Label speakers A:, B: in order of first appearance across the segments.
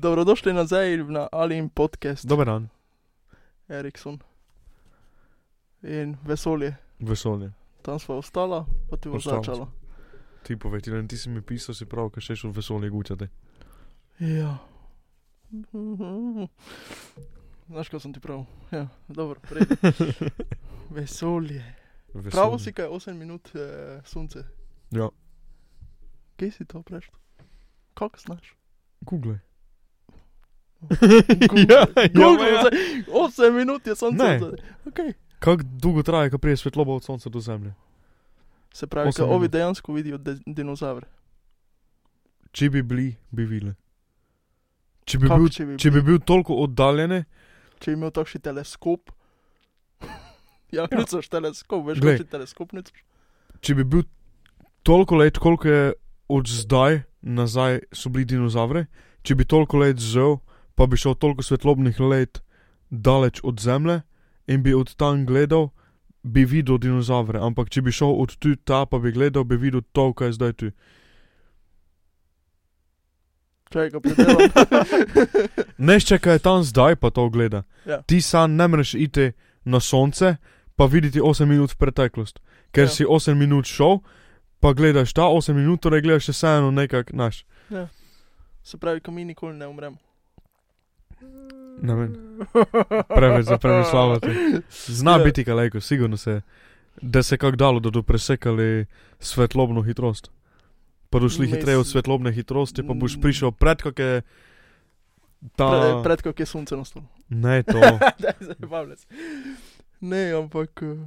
A: Dobrodošli nazaj na Alin podcast,
B: Dober dan,
A: Erikson. In vesolje,
B: vesolje.
A: tam smo ostala, pa ti bo
B: Ostala sva.
A: začela.
B: Ti povej, ti, ti si mi pisal, si prav, kaj še šel vesolje gučati.
A: Ja. Znaš, kaj sem ti pravil? Ja, dobro, prej. vesolje. Pravo si kaj 8 minut eh, sonce.
B: Ja,
A: Kje si to prešel? Kako znaš?
B: Google.
A: Google,
B: ja,
A: Google,
B: ja.
A: zdaj, 8 minut je sonce.
B: Ne.
A: zdaj. Okay.
B: Kako dolgo traja, ko prije svetloba od sonca do zemlje?
A: Se pravi,
B: Osem
A: da ovi
B: minut.
A: dejansko vidijo de dinozavre.
B: Če bi bili, bi videli. Če bi,
A: Kako,
B: bil,
A: če bi
B: če bi bil toliko oddaljen,
A: če bi imel takšen teleskop. ja,
B: Ja.
A: ja. nucaš teleskop, veš,
B: Glej.
A: kakšen teleskop nucaš.
B: če bi bil toliko let, koliko je od zdaj nazaj so bili dinozavri, če bi toliko let zel, pa bi šel toliko svetlobnih let daleč od zemlje in bi od tam gledal, bi videl dinozavre. Ampak če bi šel od tu ta, pa bi gledal, bi videl to, kaj je zdaj tu.
A: Čakaj, ga predelam.
B: Nešče, kaj je tam zdaj, pa to gleda.
A: Ja.
B: Ti sam ne moreš iti na sonce, pa videti 8 minut v preteklost. Ker
A: Ja.
B: ja. si 8 minut šel, pa gledaš ta 8 minut, torej gledaš še vseeno nekak naš.
A: Se pravi, ko mi nikoli ne umremo.
B: Ne vem. Preveč za premišljati.
A: Ja.
B: Zna ja. biti kaleko, sigurno se je. Da se je kako dalo, da do presekali svetlobno hitrost. Pa do šli
A: Mislim-
B: hitreje od svetlobne hitrosti, pa boš
A: Mm.
B: prišel pred kakšne. Ta...
A: Pre, pred kako je sonce nastalo.
B: Ne, to.
A: Daj, zabavljaj se. Ne, ampak. eh,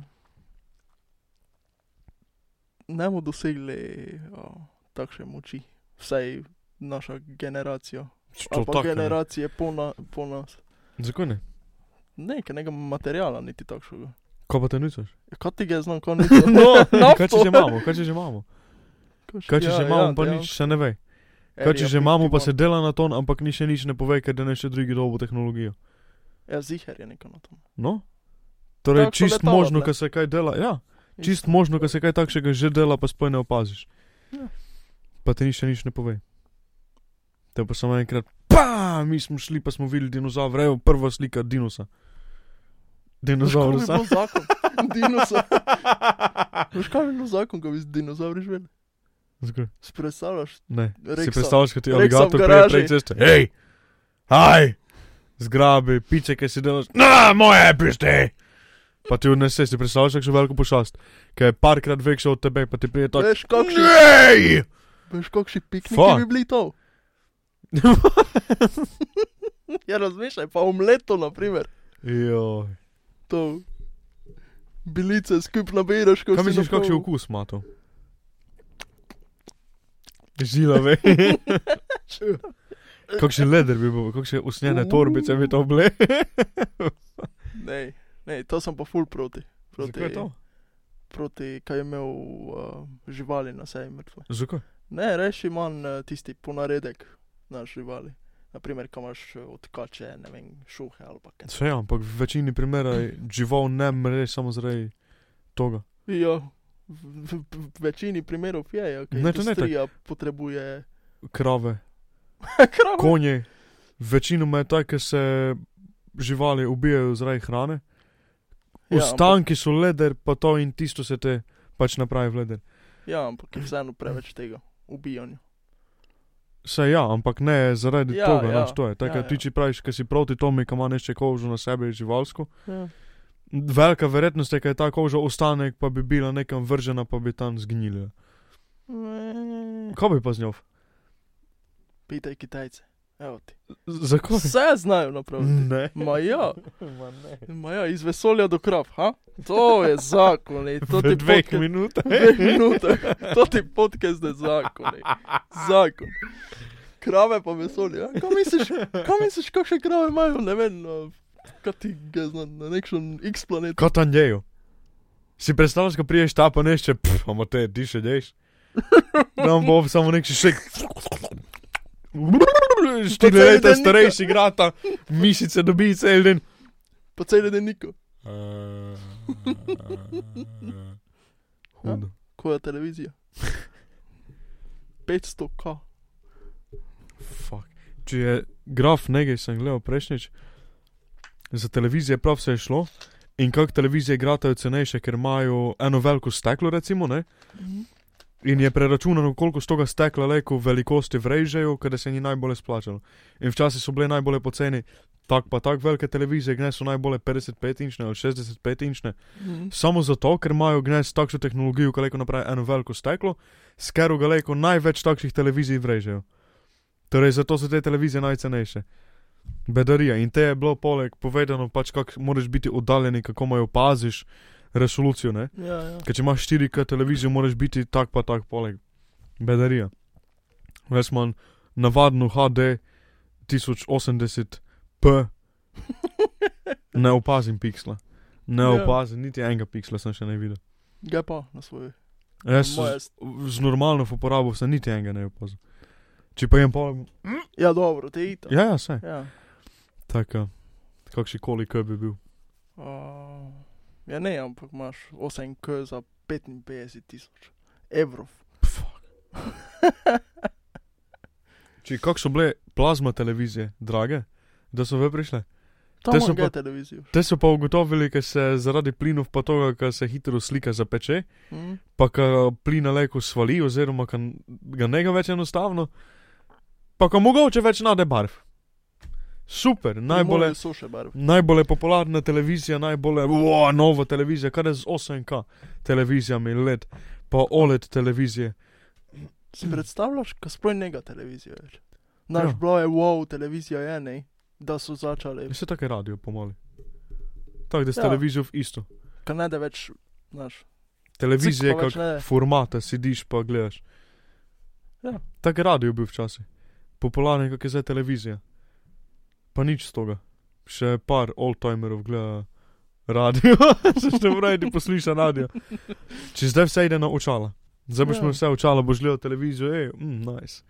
A: Ne bomo dosegli o, takšne moči, vsaj naša generacija.
B: Što
A: Ali pa
B: tako. ne.
A: generacije po, na, po nas.
B: Zakaj ne?
A: Ne, ker nekega materiala niti takšnega.
B: Ko pa te nucaš?
A: Ja, Kaj ti ga znam, kaj ni to?
B: kaj če že imamo, kaj če že imamo.
A: Ja,
B: Kaj če že imamo, pa nič še ne ve.
A: E,
B: Kaj če že imamo, pa se dela na ton, ampak ni še nič ne pove, ker da ne še drugi dobo tehnologijo.
A: Ja, ziher je nekaj na tom.
B: No? Torej,
A: Tako
B: čist
A: letalo,
B: možno,
A: tle.
B: da se kaj dela. Ja.
A: Isto.
B: Čist možno, ko se kaj takšnega že dela, pa sploh ne opaziš.
A: Ja.
B: Pa ti nič, nič ne pove. Te pa samo enkrat, pa mi smo šli, pa smo videli dinozaure, evo prva slika dinosa.
A: Veš, kaj bi
B: Dinozaur,
A: bil zakon? Dinosaur. Veš, kaj bi bil zakon, ko bi z dinozavri živeli? Si predstavljaš?
B: Ne, si
A: Reksa.
B: predstavljaš, kot je
A: Reksa v
B: aligator prije
A: garaži.
B: prek ceste. Hej, haj, zgrabi, piče, ki si delaš, na moje pište. Pa ti odnese, si predstavljaš, kakšno veliko pošast, ki je parkrat večja od tebe, pa ti prije tako.
A: Veš, kakšni,
B: "Nej!"
A: veš, kakšni pikniki
B: Fuck.
A: bi bili to? Ja, razmišljaj, pa omleto, na primer.
B: Joj.
A: To. Bilice skup nabiraš, ko
B: Kaj
A: si
B: misliš,
A: na pol-
B: kakšen okus ima to? Žilave. kakšen leder bi bil, kakšne usnjene torbice bi to bile.
A: Ne, ne, to sem pa ful proti. Proti,
B: Zakaj je to?
A: proti kaj je imel uh, živali na sebi mrtve.
B: Zakaj?
A: Ne, reši manj eh, tisti ponaredek na živali. Naprimer, ko imaš eh, od kače, ne vem, šuhe ali pa kaj.
B: Vse ja, ampak v večini primera je žival ne mre samo zaradi toga.
A: Ja, v, v, v večini primerov je, ja, ker
B: Ne, to ne
A: industrija potrebuje
B: Krave,
A: kravo.
B: konje, večinoma je tako, ker se živali ubijajo zaradi hrane.
A: Ja,
B: Ostanki so leder, pa to in tisto se te pač napravi v leder.
A: Ja, ampak je vseeno preveč tega ubijanja.
B: Saj ja, ampak ne zaradi
A: Ja,
B: ja, tega,
A: ja.
B: ja, naš, to je. Tako
A: Ja,
B: ja,
A: ja.
B: ja. ti če praviš, ker si proti tomu, ki ima nešče kožo na sebi je živalsko.
A: Ja.
B: Velika verjetnost je, da je ta koža ostanek, pa bi bila nekam vržena, pa bi tam zgnila.
A: Ne.
B: Kaj bi pa z njo?
A: Pitaj Kitajce, evo ti.
B: Z- Zakaj?
A: Vse znajo napraviti.
B: Ne.
A: Ma ja, ma ja, iz vesolja do krav, ha? To je zakon, ej, to
B: V
A: ti
B: dveh
A: podca-
B: minutah.
A: dveh minutah. To ti podcast je zakon. ej. Zakon. Krave pa vesolje. ja. Kaj misliš, kaj misliš, kakšne krave imajo? Ne vem, no, kaj ti ga znam, na nekšen X planet.
B: Kot Anjeju. Si predstavljaš, ko priješ ta pa nešče, pa te diše, deš. Nam No, bo samo nek šek.
A: cel
B: Štiri
A: dan
B: leta
A: nič.
B: starejši igrata, mišice dobi cel den.
A: Pa cel dan niko.
B: Hudo.
A: Koja televizija? 500k.
B: Fuck. Če je graf nekaj sem gledal prejšnjič, za televizijo prav vse je šlo. In kako televizije igrajo cenejše, ker imajo eno veliko steklo, recimo, ne? in je preračunano, koliko stoga stekla leko velikosti vrežejo, ker se ni najbolje splačalo. In včasih so bile najbolj poceni, tak pa tak velike televizije, gnes so najbolj 55-inčne ali 65-inčne,
A: Mhm.
B: samo zato, ker imajo gnes takšno tehnologijo, ki lahko napravi eno veliko steklo, s katero ga lahko največ takšnih televizij vrežejo. Torej, zato so te televizije najcenejše. Bedarija in te je bilo poleg povedano, pač kako moraš biti oddaljen, in kako jo opaziš, resolucijo. Ne?
A: Ja, ja.
B: Ker če imaš 4K televizijo, moraš biti tak pa tak poleg. Bedarija. Ves manj navadno HD 1080p. Ne opazim piksla. Ne
A: Mhm. Ja.
B: opazim, niti enega piksla sem še ne videl.
A: Ga pa na svoj.
B: Res
A: Moje
B: z, z normalno uporabo sem niti enega ne opazil. Če pa jem poleg.
A: Ja, dobro, te ita.
B: Ja, ja, vse.
A: ja.
B: Tako. Kakšen koli K bi bil.
A: Uh, ja, ne, ampak imaš 8K za 55 tisoč evrov.
B: Če kak so bile plazma televizije, drage, da so ve prišle.
A: Tam
B: Te
A: imaš
B: so
A: pa...
B: pa-
A: televizijo.
B: Te so pa ugotovili, ker se zaradi plinov pa toga, ker se hitro slika zapeče,
A: Mm.
B: pa ker plina leko svali, oziroma ker ga ne ga več enostavno, pa ker mogoče več nade barv. Super, najbolje,
A: So še barve.
B: najbolje popularna televizija, najbolje wow, nova televizija, kar je z 8K televizijami LED, pa OLED televizije.
A: Si predstavljaš, ko sploh njega televizijo več. Naš
B: Mm. Ja. Ja,
A: ja. bilo je wow, televizija je ne, da so začeli,
B: In se tako radio pomoli. Tako da s
A: Ja.
B: ja. televizijo v isto.
A: ker ne da več, znaš.
B: Televizije,
A: Cik, pa več
B: kakšne
A: ne.
B: formate sidiš pa gledaš.
A: Ja.
B: Tako je radio bil včasih. Popularen, kak je zdaj televizija. Pa nič z toga. Še par oldtimerov gleda radio, se še pravi, ti posluša radio. Če zdaj vse ide na očala. Zdaj boš
A: Ja.
B: imel vse očala, boš gledal televizijo, hej, mm, nice.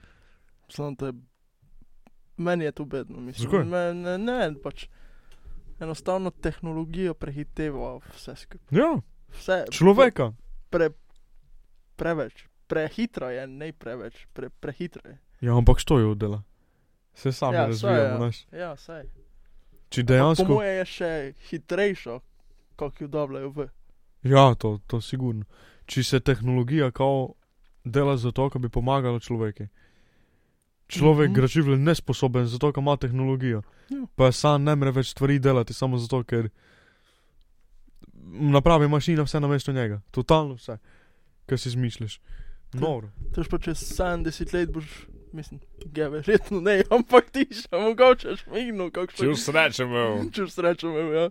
A: Samo te, meni je to bedno,
B: Zakaj?
A: mislim. Ne, ne, ne, pač. Enostavno tehnologija prehiteva vse skupaj.
B: Ja,
A: Vse-
B: človeka.
A: Pre, preveč, prehitro je, ne preveč, pre, prehitro je.
B: Ja, ampak što jo dela? Se sami
A: Ja,
B: ja,
A: saj, ja.
B: razvijamo, znaš.
A: Ja, saj.
B: Če
A: Dejansko... Po
B: dejansko.
A: moje je še hitrejšo, kot jo dobljajo v.
B: Ja, to, to sigurno. Če se tehnologija kao dela zato, da bi pomagala človeku. Človek
A: Mhm.
B: mm -hmm. je nesposoben, zato ker ima tehnologijo.
A: Ja.
B: Pa sam ne more več stvari delati, samo zato, ker napravi mašina vse na mesto njega. Totalno vse, kar si izmišljaš. Noro.
A: To je pa čez 70 let boš, mislim, ja, verjetno ne, ampak ti še mogoče šmignu, kakšno
B: srečem,
A: Če srečam, ja.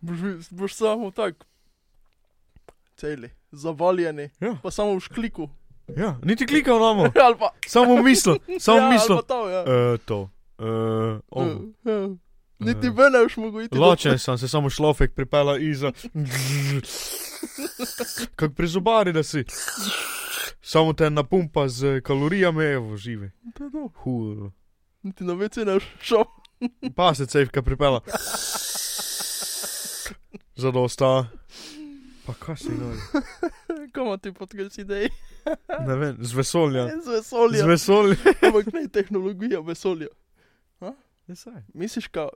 A: boš, vi- boš samo tak, celi, zavaljeni,
B: Ja.
A: pa samo v škliku.
B: Ja, niti klikal namo,
A: ali pa,
B: samo mislo, samo
A: ja,
B: mislo.
A: Ali pa to, ja.
B: E, to. E, ovo.
A: Ja, ja. Niti
B: Eh.
A: ven ne boš mogel iti. do-
B: Ločen sem se, samo šlofek pripela iza. Kak pri zubari, da si. Samo te napumpa z kalorijami, evo, živi.
A: To je to.
B: Hur.
A: Niti na vece ne boš šel.
B: Pa se cevka pripela. Zadosta. Pa kaj si no, nori?
A: Koma ti podkres idej?
B: Ne vem, z vesolja.
A: Z
B: Z
A: vesolja.
B: vesolja.
A: Ampak ne tehnologija vesolja. Ja, Misliš, ka,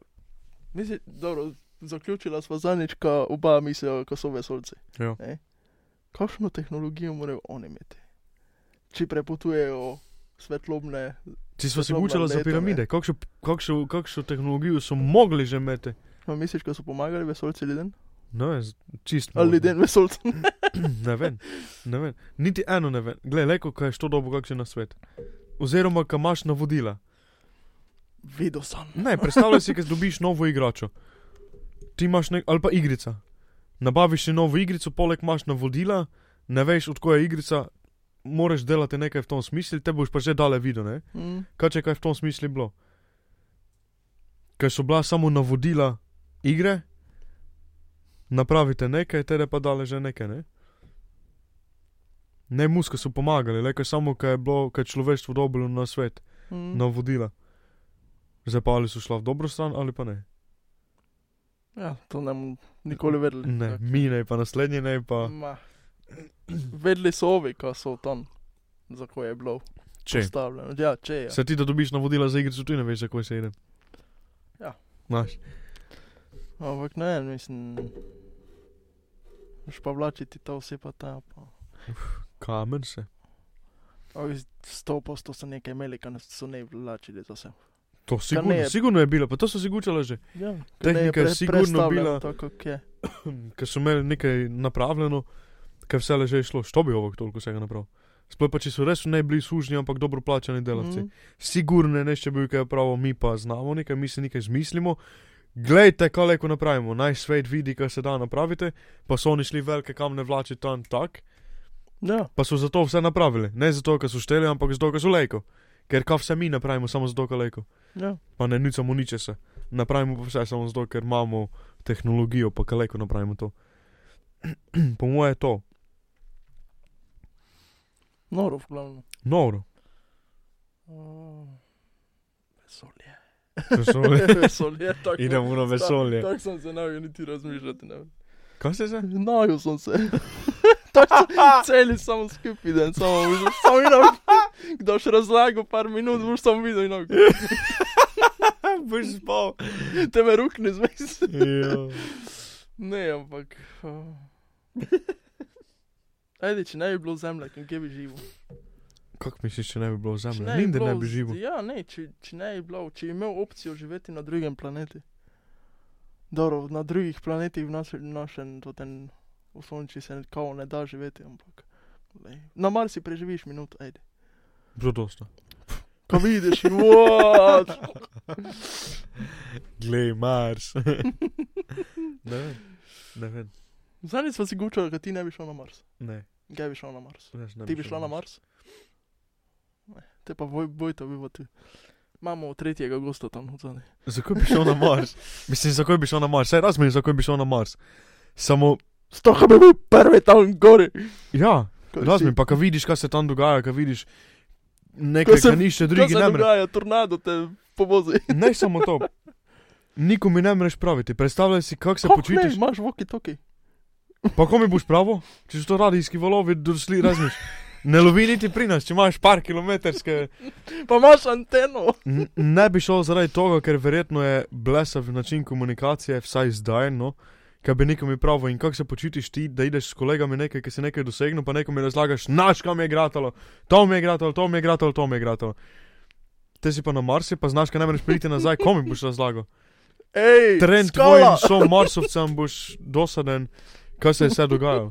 A: misli, dobro, zaključila sva zadnjič, ka oba mislijo, ka so vesolci.
B: Ja.
A: Ne? Kakšno tehnologijo morajo oni imeti? Če prepotujejo svetlobne,
B: Ti smo se
A: Svetloba
B: učili za
A: leta,
B: piramide,
A: ne.
B: kakšno, kakšno, kakšno tehnologijo so mogli že imeti.
A: no, misliš, ka so pomagali vesolci ljudem?
B: Ne vem, z- čisto.
A: Ali
B: možno.
A: ljudem vesolcem?
B: Ne vem, ne vem, niti eno ne vem. Glej, leko, kaj je to dobo, kakšen na svet. Oziroma, kam imaš navodila.
A: Videl sem.
B: Ne, predstavljaj si, da dobiš novo igračo. Ti imaš nek, ali pa igrica. Nabaviš si novo igrico, poleg imaš navodila, ne veš, odkud je igrica, moraš delati nekaj v tom smislu, te boš pa že dale videl, ne?
A: Mm.
B: Kaj če kaj v tom smislu bilo? Ker so bila samo navodila igre, napravite nekaj, tere pa dale že nekaj, ne? Ne, muska so pomagali, le kaj samo, kaj je bilo, kaj je človeštvo dobilo na svet,
A: Mm.
B: navodila. Zdaj pa ali so šla v dobro stran ali pa ne.
A: Ja, to ne bomo nikoli vedeli.
B: Ne,
A: Tako. Mhm.
B: mi ne, pa naslednji ne, pa
A: Ma. Vedeli so ovi, ka so tam, za ko je bilo
B: če.
A: postavljeno. Ja, če je.
B: Se ti, da dobiš navodila za igrico, ti ne veš, zakaj se ide. znaš.
A: Ampak ne, mislim. Moš pa vlačiti ta oseba ta. Pa.
B: Kamen se.
A: Ovi s to posto so nekaj imeli, kar so ne vlačili za vse.
B: To sigurno,
A: ne je-
B: sigurno je bilo, pa to so si gučali že.
A: Ja,
B: Tehnika je sigurno bila-
A: Tako kot je.
B: Hm, Ker so imeli nekaj napravljeno, ker vse leže je šlo, što bi ovak toliko vsega napravil. Sploh pa če so res ne bili služni, ampak dobro plačani delavci. Mm.
A: Mhm.
B: Sigurno je nešče bil kaj pravo, mi pa znamo nekaj, mi si nekaj zmislimo. Glejte, kaj lahko napravimo, naj svet vidi, kaj se da napraviti, pa so oni šli velike kamne vlači tam tak,
A: Ja,
B: pa so zato vse napravili. Ne zato, ker so šteli, ampak zato, ker so lejko. Ker kaj vse mi napravimo, samo zato, ker lejko.
A: ja.
B: Pa ne, nič samo niče se. Napravimo pa vse samo zato, ker imamo tehnologijo, pa kaleko napravimo to. po mojem je to.
A: Noro, v glavnem.
B: Noro.
A: Uh, vesolje.
B: Vesolje.
A: vesolje, tako.
B: Idemo na vesolje.
A: Tako sem se najel niti razmišljati. Ne.
B: Kaj se zdaj?
A: Najel sem se. tako sem celi samo skupaj, idem, samo videl. Samo videl, kdo še razlago par minut, boš samo videl in ok.
B: Boš spal.
A: Te me rukne zmes. Ne, ampak. Uh... Ajde, če ne bi bilo zemlje, kje bi živel?
B: Kak misliš, če ne bi bilo
A: Če
B: zemlje? Ninde ne bi
A: bilo z-
B: živel.
A: Ja, ne, če, če ne bi bilo, če bi imel opcijo živeti na drugem planetu. Dobro, na drugih planetih v našem, našem totem osončju se kao ne da živeti, ampak. Lej. Na Marsi preživiš minuto, ajde.
B: Bilo dosta.
A: Ko vidiš, what?
B: Glej, Mars. ne vem. Ne vem.
A: Zadnjič smo si gučali, da ti ne bi šel na Mars.
B: Ne.
A: Kaj bi šel na Mars?
B: jaz ne
A: Ti bi
B: šel
A: šla na Mars? Ne, te pa boj, boj to bi bilo tu. Imamo tretjega gosta tam zadnji.
B: Zakaj bi šel na Mars? Mislim, zakaj bi šel na Mars? Saj razumem, zakaj bi šel na Mars. Samo,
A: Stoha bi bil prvi tam gori.
B: ja,
A: Ko
B: Razumem,
A: si-
B: pa ko vidiš, kaj se tam dogaja, ko vidiš nekaj,
A: Ko se-
B: kar nišče
A: ko
B: drugi
A: se
B: ne more.
A: dogaja, tornado te povozi.
B: Ne samo to. Nikomu ne moreš praviti. Predstavljaj si, kako se
A: Kako ne,
B: počutiš.
A: imaš voki toki.
B: Pa komu boš pravo? Če so to radijski valovi, dosli razmiš. Ne lovi niti pri nas, če imaš par kilometrske.
A: Pa imaš anteno.
B: N- Ne bi šel zaradi tega, ker verjetno je blesav način komunikacije, vsaj zdaj, no. Kaj bi nekomu pravo in kako se počutiš ti, da ideš s kolegami nekaj, ki si nekaj dosegnil, pa nekomu razlagaš, naš kam je gratalo, to mi je gratalo, to mi je gratalo, to mi je gratalo. Te si pa na Marsu, pa znaš, kaj ne moreš priti nazaj, komu boš razlagal.
A: Ej,
B: Trend tvojim
A: skala.
B: so Marsovcem boš dosaden, kaj se je vse dogajalo.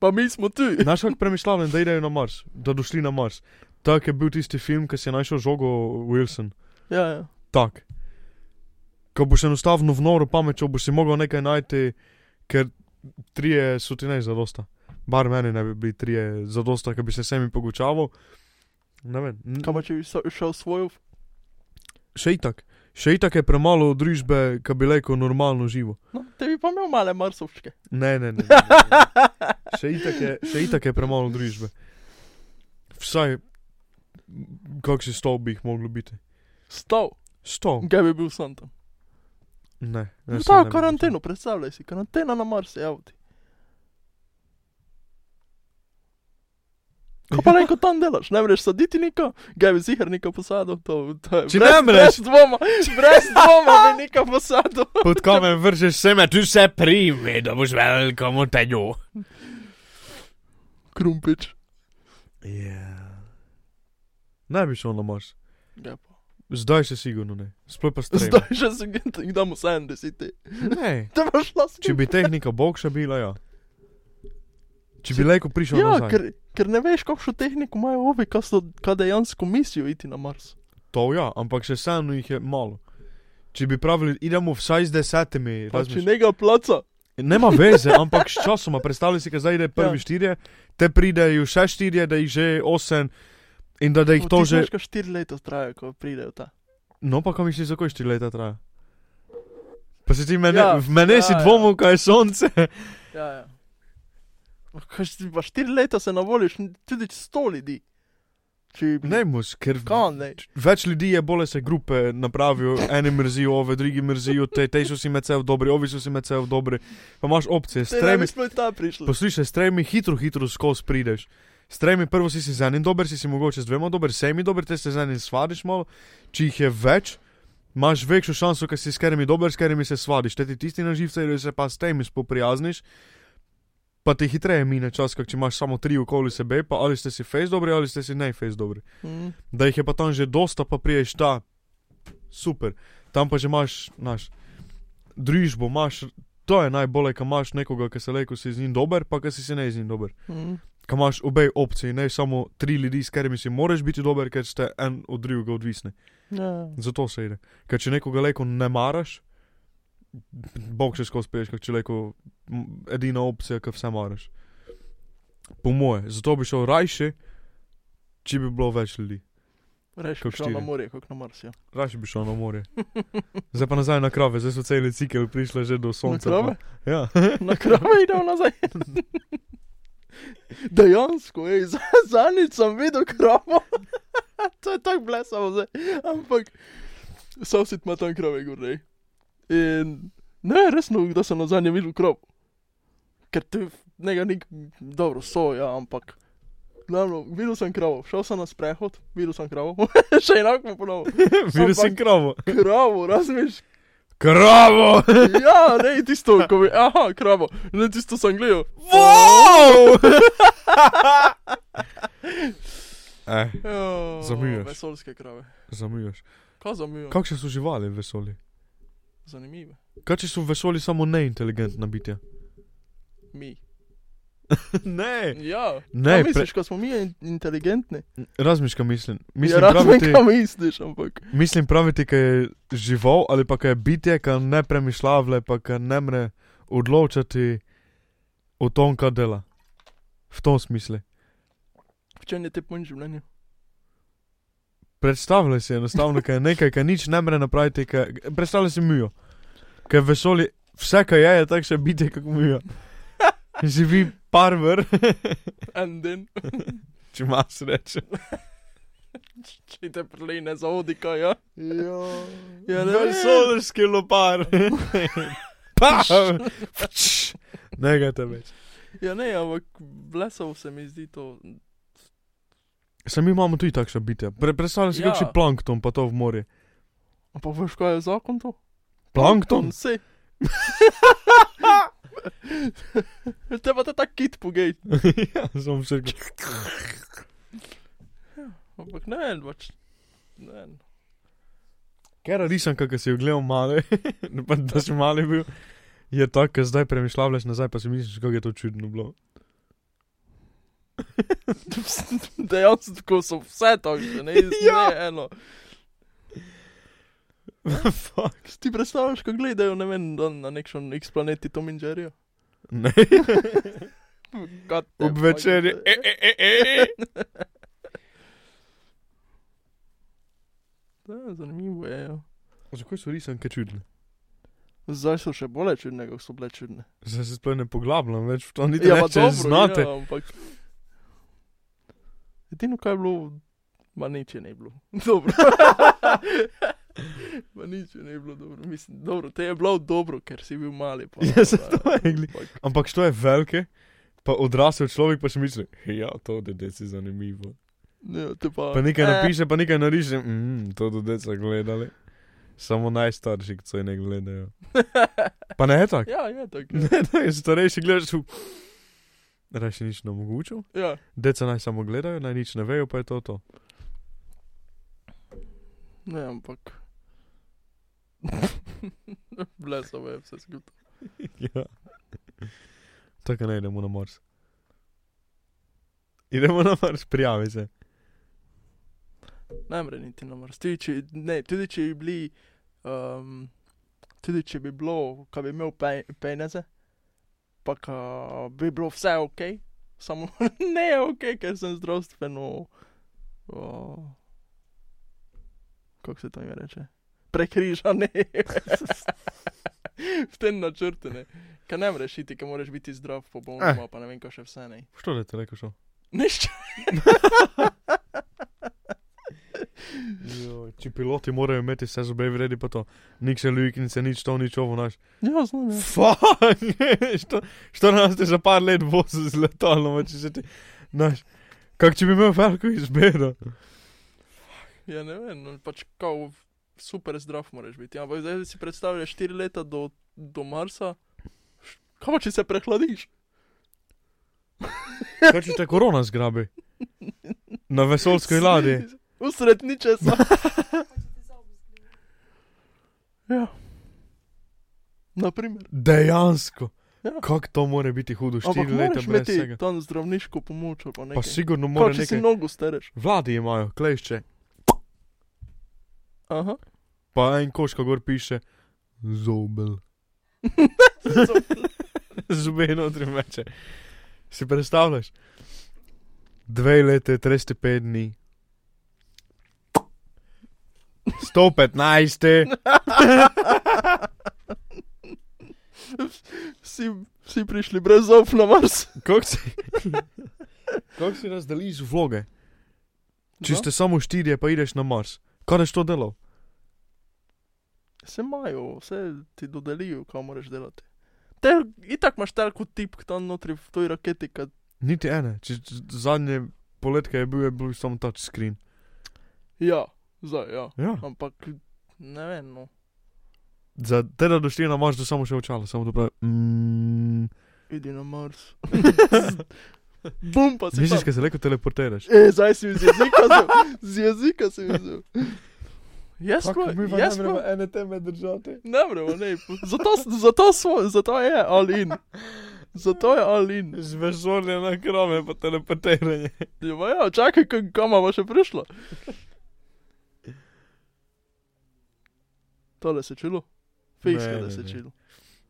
A: Pa mi smo tu.
B: Znaš, kako premišljam, da idejo na Mars, da došli na Mars. Tak je bil tisti film, ki si je našel žogo Wilson.
A: Ja, ja.
B: Tak. Ko boš enostavno v noro pamet, boš si mogel nekaj najti, ker trije so ti ne za dosta. Bar meni ne bi bili trije za dosta, ker bi se sami pogučaval. Ne vem. n-
A: Kaj pa če bi so- šel svojo?
B: Še itak. Še itak je premalo družbe, ki bi rekel normalno živo.
A: No, te bi pa imel male marsovčke.
B: Ne, ne, ne. ne, ne. Še, itak je, še itak je premalo družbe. Vsaj, kako si stol bi jih moglo biti.
A: Stav.
B: Sto.
A: Kaj bi bil sam tam?
B: Ne, ne,
A: No,
B: Ja, saj
A: ta
B: ne bi
A: karanteno, predstavljaj si. Karantena na Marsu, evo ti. Ko pa neko tam delaš, ne moreš saditi niko, ga bi ziharnika posadil, to, to je.
B: Če
A: brez-
B: ne moreš.
A: Brez dvoma, brez dvoma bi niko posadil.
B: mogel. Pod kamen vržeš seme, tu se primi, da boš veliko motenju.
A: Krumpič.
B: Yeah. Ja. Ne bi šel na Mars.
A: Ja, pa.
B: Zdaj še sigurno ne. Sploh pa stari.
A: Zdaj že se gledam, da mu sem deseti.
B: Ne.
A: Te pa šla s
B: Če bi tehnika bogša bila, ja. Če bi leko prišel
A: Ja,
B: nazaj.
A: ker, ker ne veš, kakšno tehniko imajo ovi, kaj so- kaj dejansko mislijo iti na Mars.
B: To ja, ampak še vseeno jih je malo. Če bi pravili, idemo vsaj z desetimi,
A: Pa če
B: razmišljaj.
A: njega placa,
B: Nema veze, ampak s časom, predstavljaj si, da zdaj ide prvi ja.
A: Ja.
B: štirje, te pridejo še štirje, da jih že osem in da, da jih to že.
A: Že štiri leta traja, ko pridejo ta.
B: No, pa kam misliš, zakaj štiri leta traja? Pa se ti mene, ja,
A: Ja,
B: v mene ja,
A: ja,
B: si
A: ja.
B: dvomil, kaj je sonce.
A: Ja, ja. Ma Kaj, si- pa štiri leta se navoliš, n- tudi če sto ljudi. Če
B: Ne, mus, ker
A: Kaj ne?
B: več ljudi je, bolje se grupe napravijo, eni mrzijo, ove, drugi mrzijo, te, te so si med seboj dobri, ovi so si med seboj dobri. Pa imaš opcije, s
A: Te ne
B: tremi
A: bi sploh ta prišli.
B: Poslušaj, s tremi hitro, hitro skozi prideš. S tremi prvo si, si z enim dober, si si mogoče z dvema dober, s semi dober, te se z enim svariš malo, če jih je več, imaš večjo šanso, ker si s katerimi dober, s katerimi se svadiš, te ti tisti na živce, ali se pa s temi spoprijazniš. Pa ti hitreje mine čas, kak če imaš samo tri okoli sebe, pa ali ste si face dobri ali ste si ne face dobri.
A: Mm.
B: Da jih je pa tam že dosta, pa priješ ta, super. Tam pa že imaš, znaš, družbo, imaš, to je najbolje, ko imaš nekoga, ki se le, ko si z njim dober, pa ki si se ne z njim dober.
A: Mm.
B: Ko imaš obe opciji, ne samo tri ljudi, s katerimi si moraš biti dober, ker ste en od drugega odvisni.
A: Ja.
B: Zato se ide. Ker če nekoga leko ne maraš, bog še skozi peš, ker če leko m, edina opcija, ki vse maraš. Po moje, zato bi šel rajši, če bi bilo več ljudi.
A: Reš, kako
B: Kako
A: šel na
B: štiri?
A: morje, kako na Mars. Ja.
B: Rajši bi šel na morje. Zdaj pa nazaj na krave, zdaj so celi cikli prišli že do
A: Na
B: sonca.
A: krave,
B: Ja.
A: na krave idemo nazaj. Dejansko, ej, za- zadnjič sem videl kravo. to je tako blesavo zdaj. Ampak, sosed ima tam krave gorej. In ne, resno, da sem na zadnje videl kravo. Ker ti nekaj nik, dobro so, ja, ampak. Glavno, videl sem kravo, šel sem na sprehod, videl sem kravo, še enako ponovno.
B: Videl si kravo.
A: Kravo, razumeš,
B: Kravo!
A: Ja, ne, tisto, ko bi, aha, kravo, ne, tisto sem gledal.
B: Wow! eh,
A: Ja,
B: Zamujuješ.
A: Vesolske krave.
B: zamujaš.
A: Kaj zamujaš?
B: Kakšne so živali v vesolju?
A: Zanimive.
B: Kaj če so v vesolju samo neinteligentna bitja?
A: Mi.
B: ne,
A: Ja,
B: E. ne,
A: Kaj
B: pre,
A: misliš, ko smo mi in- inteligentni.
B: razmiš, kaj mislim.
A: Mislim, ja,
B: Mislim,
A: razumem,
B: praviti,
A: kaj misliš, ampak.
B: mislim praviti, kaj je žival ali pa kaj je bitje, ki ne premišljavle, pa ki ne more odločati o tom, kaj dela. V tom smislu.
A: V čem je te pun življenju?
B: Predstavljaj si enostavno, kaj je nekaj, kaj nič ne more napraviti, kaj... predstavljaj si mijo. Ker vesolje, vse, kar je, je takšne bitje, kako mijo. Živi parver,
A: En dan,
B: če imaš reče.
A: če te prelej ne zaodi, kaj ja.
B: Ja,
A: Ja,
B: ne
A: ne
B: vem,
A: vem.
B: solarski lopar. Pa, pč, ne ga te več.
A: Ja, ne, ampak blesavo se mi zdi to.
B: Sam imamo tudi takšne bitje. Pre, predstavljaj si,
A: Ja.
B: ja. kakšen plankton pa to v morju.
A: Ampak veš, kaj je zakon to?
B: Plankton?
A: Se. te pa te ta kit pogej.
B: ja, sem se rekel.
A: Ampak ne vem, pač. Ne vem.
B: Ker risanka, ki si jo gledal male, pa da si mali bil, je tako, ker zdaj premišljavljaš nazaj, pa si misliš, kako je to čudno bilo.
A: Dejansko tako so vse takšne, ne, ja. ne eno.
B: Fuck.
A: Si Ti predstavljaš, ko gledajo ne vem, na, na nekšen X planeti Tom in Jerryja?
B: Ne.
A: God the fuck.
B: Ob večerji. E, e, e, e.
A: Ja, zanimivo je. Ja.
B: Zakaj so risanke čudne?
A: Zdaj so še bolj čudne, kot so bile čudne.
B: Zdaj se sploh ne poglabljam več v to, niti ja, ne, če znate.
A: Ja, ampak... Edino, kaj je bilo, ma nič je ne bilo. Dobro. ma nič je ne bilo dobro. Mislim, dobro, te je bilo dobro, ker si bil mali. Pa,
B: Ja, se to je gli-
A: ampak-
B: Ampak što je velike, pa odrasel človek pa še misli, ja, to dede si zanimivo.
A: Ja, te pa,
B: Pa nekaj napiše, pa nekaj nariše, mm, to dede so gledali. Samo najstarši, ki so je ne gledajo. Pa ne je tako.
A: Ja, je tako.
B: Ne, ne, starejši gledaš v... Raje nič ne omogočil.
A: Ja.
B: Deca naj samo gledajo, naj nič ne vejo, pa je to to.
A: Ne, ampak. Blesavo je vse skupaj.
B: Ja. Tako ne idemo na Mars. Idemo na Mars, prijavi se.
A: Ne mre niti na Mars. Tudi če, ne, tudi če bi bili, um, tudi če bi bilo, kaj bi imel pe, peneze, pa ka bi bilo vse ok, samo ne je ok, ker sem zdravstveno. Uh, kako se to ime reče? Prekrižane. v tem načrtu ne. Kaj ne mreš iti, ker moraš biti zdrav, popolnoma, eh. pa ne vem, kaj še vse ne.
B: Što je te rekel šel?
A: Nič.
B: Jo, če piloti morajo imeti vse zobe vredi, pa to. Nik se lujknice, nič to, nič ovo naš.
A: Ja, znam. Ja.
B: Fuck, što, što nas te za par let bo z letalom, če se ti... Naš, kak če bi imel veliko izbiro.
A: Ja, ne vem, no, pač kao, super zdrav moraš biti. ja, Ampak zdaj si predstavljaš 4 leta do, do Marsa, Š- kaj pa če se prehladiš?
B: Kaj če te korona zgrabi? Na vesoljski ladji.
A: Usred ničesa. ja. Naprimer.
B: Dejansko.
A: Ja.
B: Kako to more biti hudo,
A: Ampak
B: štiri leta
A: moraš
B: brez
A: imeti
B: tega.
A: tam zdravniško pomoč ali pa
B: Pa
A: nekaj.
B: sigurno
A: Kaj,
B: mora
A: če si
B: nekaj.
A: nogo stereš.
B: Vladi imajo, klešče.
A: Aha.
B: Pa en koš, ko gor piše, zobel. Zube notri meče. Si predstavljaš? Dve leti, 35 dni. 115.
A: Vsi, vsi prišli brez zob na Mars.
B: Kako si, kak si razdeliš vloge? Če
A: No.
B: ste samo štirje, pa ideš na Mars. Kaj je to delo?
A: Se imajo, vse ti dodelijo, kam moraš delati. Te, itak imaš tako tip, ki tam notri v toj raketi, kad...
B: Niti ene. Če, če- zadnje poletke je bil, je bil samo touchscreen.
A: Ja, zdaj, ja.
B: Ja.
A: Ampak, ne vem, no.
B: Za te, da došli na Mars, da samo še očala, samo to pravi. Mm,
A: Idi na Mars. Bum, pa si
B: misliš,
A: tam.
B: da se lahko teleportiraš?
A: E, zdaj si mi z jezika vzel. Z jezika si mi vzel. Jaz pa, jaz pa.
B: ene teme držati.
A: Ne moremo, ne. Zato, zato smo, zato je Alin. Zato je Alin.
B: Z vesolja na krome pa teleportiranje.
A: Ja, ja, čakaj, k- kam bo še prišlo. Tole se čulo, fiks
B: Ne,
A: je,
B: ne,
A: da se
B: ne.
A: čulo.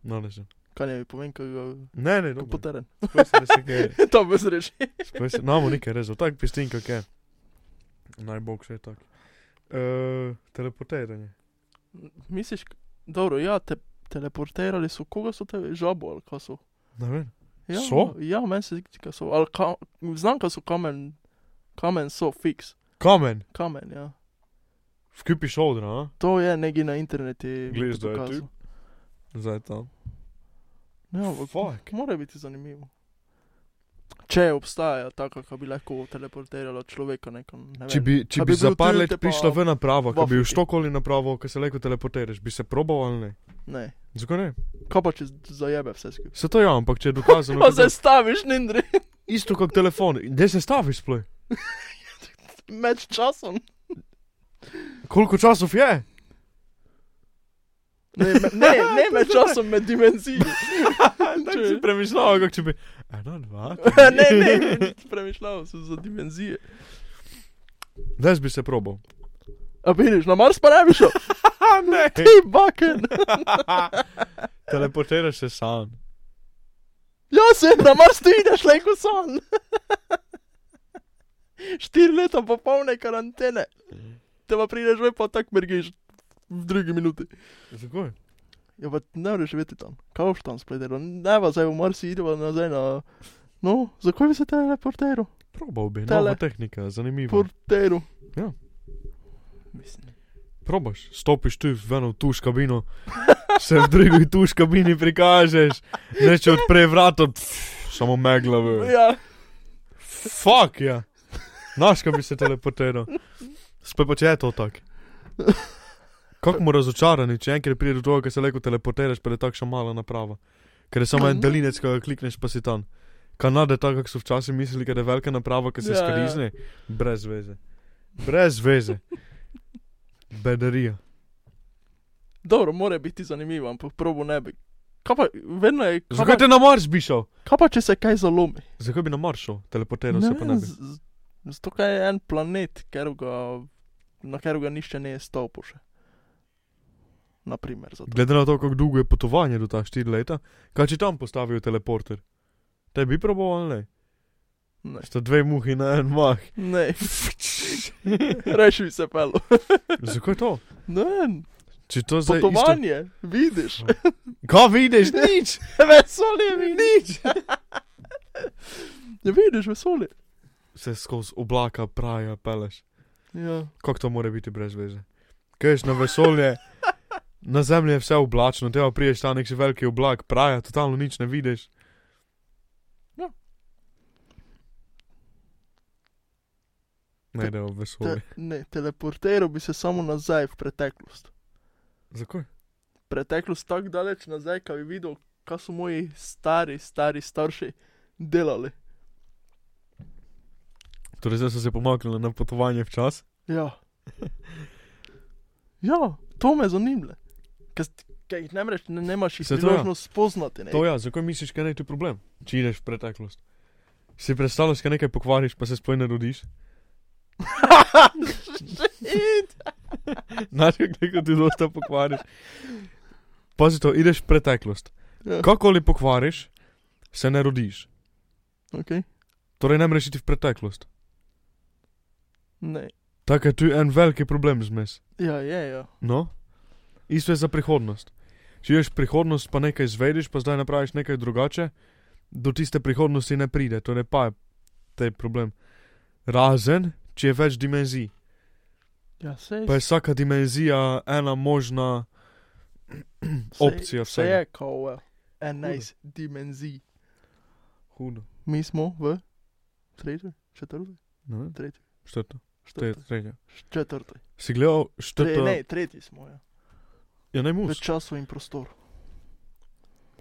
B: No, ne že.
A: Kaj ne bi povem, kaj ga
B: Ne, ne, no.
A: komputeren.
B: Sploh
A: to bi se reči.
B: se no, namo nekaj rezal, tak pistin kak je. Najbog še je tak. Uh, teleportiranje.
A: Misliš, k- dobro, ja, te, teleporterali so, koga so te, žabo ali kaj so?
B: Ne vem.
A: Ja,
B: So?
A: Ja, meni se zdi, da so, ali ka, znam, kaj so kamen, kamen so, fiks,
B: Kamen.
A: kamen, ja.
B: Vkupiš odra, a?
A: To je nekaj na internetu.
B: Glej, zdaj tu.
A: pokazal.
B: Zdaj tam.
A: Ja, ampak
B: Fuck.
A: Mora biti zanimivo. Če obstaja taka, ki bi lahko teleportirala človeka nekam. Ne
B: Če
A: vem.
B: bi,
A: A
B: če bi,
A: bi
B: bi za
A: bil
B: par
A: tu,
B: let
A: te pa
B: prišla v napravo, ko bi
A: v
B: v štokoli napravo, ko se lahko teleportiraš, bi se probal ali ne?
A: Ne.
B: Zakaj ne?
A: Kaj pa če z- zajebe vse skupaj?
B: Se to ja, ampak če je dokazano.
A: Pa
B: kako-
A: se staviš, nindri,
B: Isto kot telefon. Gdje se staviš sploh?
A: med časom.
B: Koliko časov je?
A: Ne, me, ne, ne med časom, med dimenzijo.
B: Tako si premišljal, kako če bi. Eno, dva.
A: ne, ne, premišljal sem za dimenzije.
B: Zdaj bi se probal.
A: A vidiš, na Mars pa ne bi šel.
B: A ne.
A: Ti baken.
B: Teleportiraš se sam.
A: Ja, se na Mars ti ideš, lejko san. Štiri leta popolne karantene. Te pa prideš, ve pa tak mergiš v drugi minuti.
B: Zakaj?
A: Ja, pa ne moreš živeti tam. Kaj boš tam spletero? Ne, pa zdaj v Marsi ideva nazaj na... No, zakaj bi se teleporteru?
B: Probal bi,
A: Tele-
B: nova tehnika, zanimivo. Por...
A: Porteru.
B: Ja.
A: Mislim.
B: Probaš, stopiš tu v eno tuš kabino, se v drugi tuš kabini prikažeš, neče odpre vrata, pff, samo megla v.
A: Ja.
B: Fuck ja. Naš, ko bi se teleportiral. Spet pa če je to tako. Kako mu razočarani, če enkrat pride do tega, da se lahko teleportiraš, pa je takšna mala naprava. Ker je samo en delinec, ko ga klikneš, pa si tam. Kanada, tako kako so včasih mislili, da je velika naprava, ki se
A: Ja,
B: ja,
A: ja.
B: skarizne. Brez veze. Brez veze. Bedarija.
A: Dobro, more biti zanimivo, ampak probo ne bi. Kaj pa, vedno je... Kaj pa,
B: Zakaj te na Mars bi šel?
A: kaj pa če se kaj zalomi?
B: Zakaj bi na Mars šel? Teleportiral er se pa ne bi.
A: z- z- Zato ker je er en planet, ker ga, na katerega nišče ne je stopil še. Naprimer, zato.
B: Glede na to, kako dolgo je potovanje do ta štiri leta, kaj če tam postavijo teleporter? Te bi proboval ali ne?
A: Ne,
B: Sta dve muhi na en mah.
A: ne. reši bi se pelo.
B: Zakaj to?
A: Ne, vem,
B: Če to zdaj isto...
A: potovanje, vidiš.
B: Kaj vidiš? Nič!
A: vesolje vidiš. ja, vidiš vesolje.
B: Se skozi oblaka praja peleš.
A: Ja.
B: Kako to more biti brez veze? Kajš na vesolje, na zemlji je vse oblačno, teba priješ ta nek še veliki oblak praja, totalno nič ne vidiš.
A: Ja.
B: ne grejo v vesolje.
A: Te, ne, teleportiral bi se samo nazaj v preteklost.
B: Zakaj?
A: Preteklost tako daleč nazaj, kaj bi videl, kaj so moji stari, stari starši delali.
B: Torej, zdaj so se pomaknili na potovanje v čas.
A: Ja. ja, to me zanima. Kaj jih namreč ne, nemaš jih
B: Se to ja.
A: priložnost spoznati. Ne?
B: To ja, zakaj misliš, kaj je tu problem, če ideš v preteklost? Si predstavljaš, kaj nekaj pokvariš, pa se sploh ne rodiš? Znaš, kako ti dosta pokvariš. Pazi to, ideš v preteklost.
A: Ja.
B: Kakoli pokvariš, se ne rodiš.
A: Okay.
B: Torej, ne moreš iti v preteklost.
A: Ne.
B: Tako je tu en veliki problem zmes.
A: Ja, je, ja.
B: No, isto je za prihodnost. Če ješ prihodnost, pa nekaj izvediš, pa zdaj napraviš nekaj drugače, do tiste prihodnosti ne pride, torej pa je te problem. Razen, če je več dimenzij,
A: ja sej,
B: pa je vsaka dimenzija ena možna opcija
A: Vse
B: vsega.
A: je kot 11 dimenzij.
B: Hudo.
A: Mi smo v tretji, četrti,
B: Ne vem,
A: tretji,
B: šteto,
A: četrti.
B: šteto.
A: četrti.
B: Si gledal
A: Tre,
B: šteto?
A: ne, tretji smo. Ja.
B: Ja,
A: V
B: najmus.
A: času in prostoru.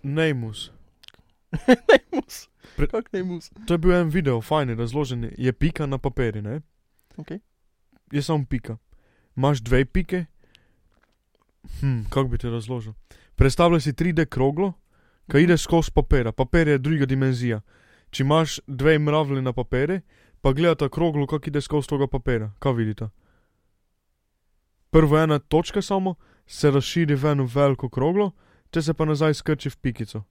B: Najmus.
A: ne mus.
B: Pre-
A: Kak ne mus.
B: To je bil en video, fajn je razložen, je pika na papirju, ne?
A: Okej.
B: Je samo pika. Imaš dve pike. Hm, kako bi ti razložil? Predstavljaj si 3D kroglo, ki ide skozi papir. Papir je druga dimenzija. Če imaš dve mravlji na papiri, pa gledata kroglo, kako ide skozi tega papira. Kaj vidita? Prvo ena točka samo se razširi v eno veliko kroglo, če se pa nazaj skrči v pikico.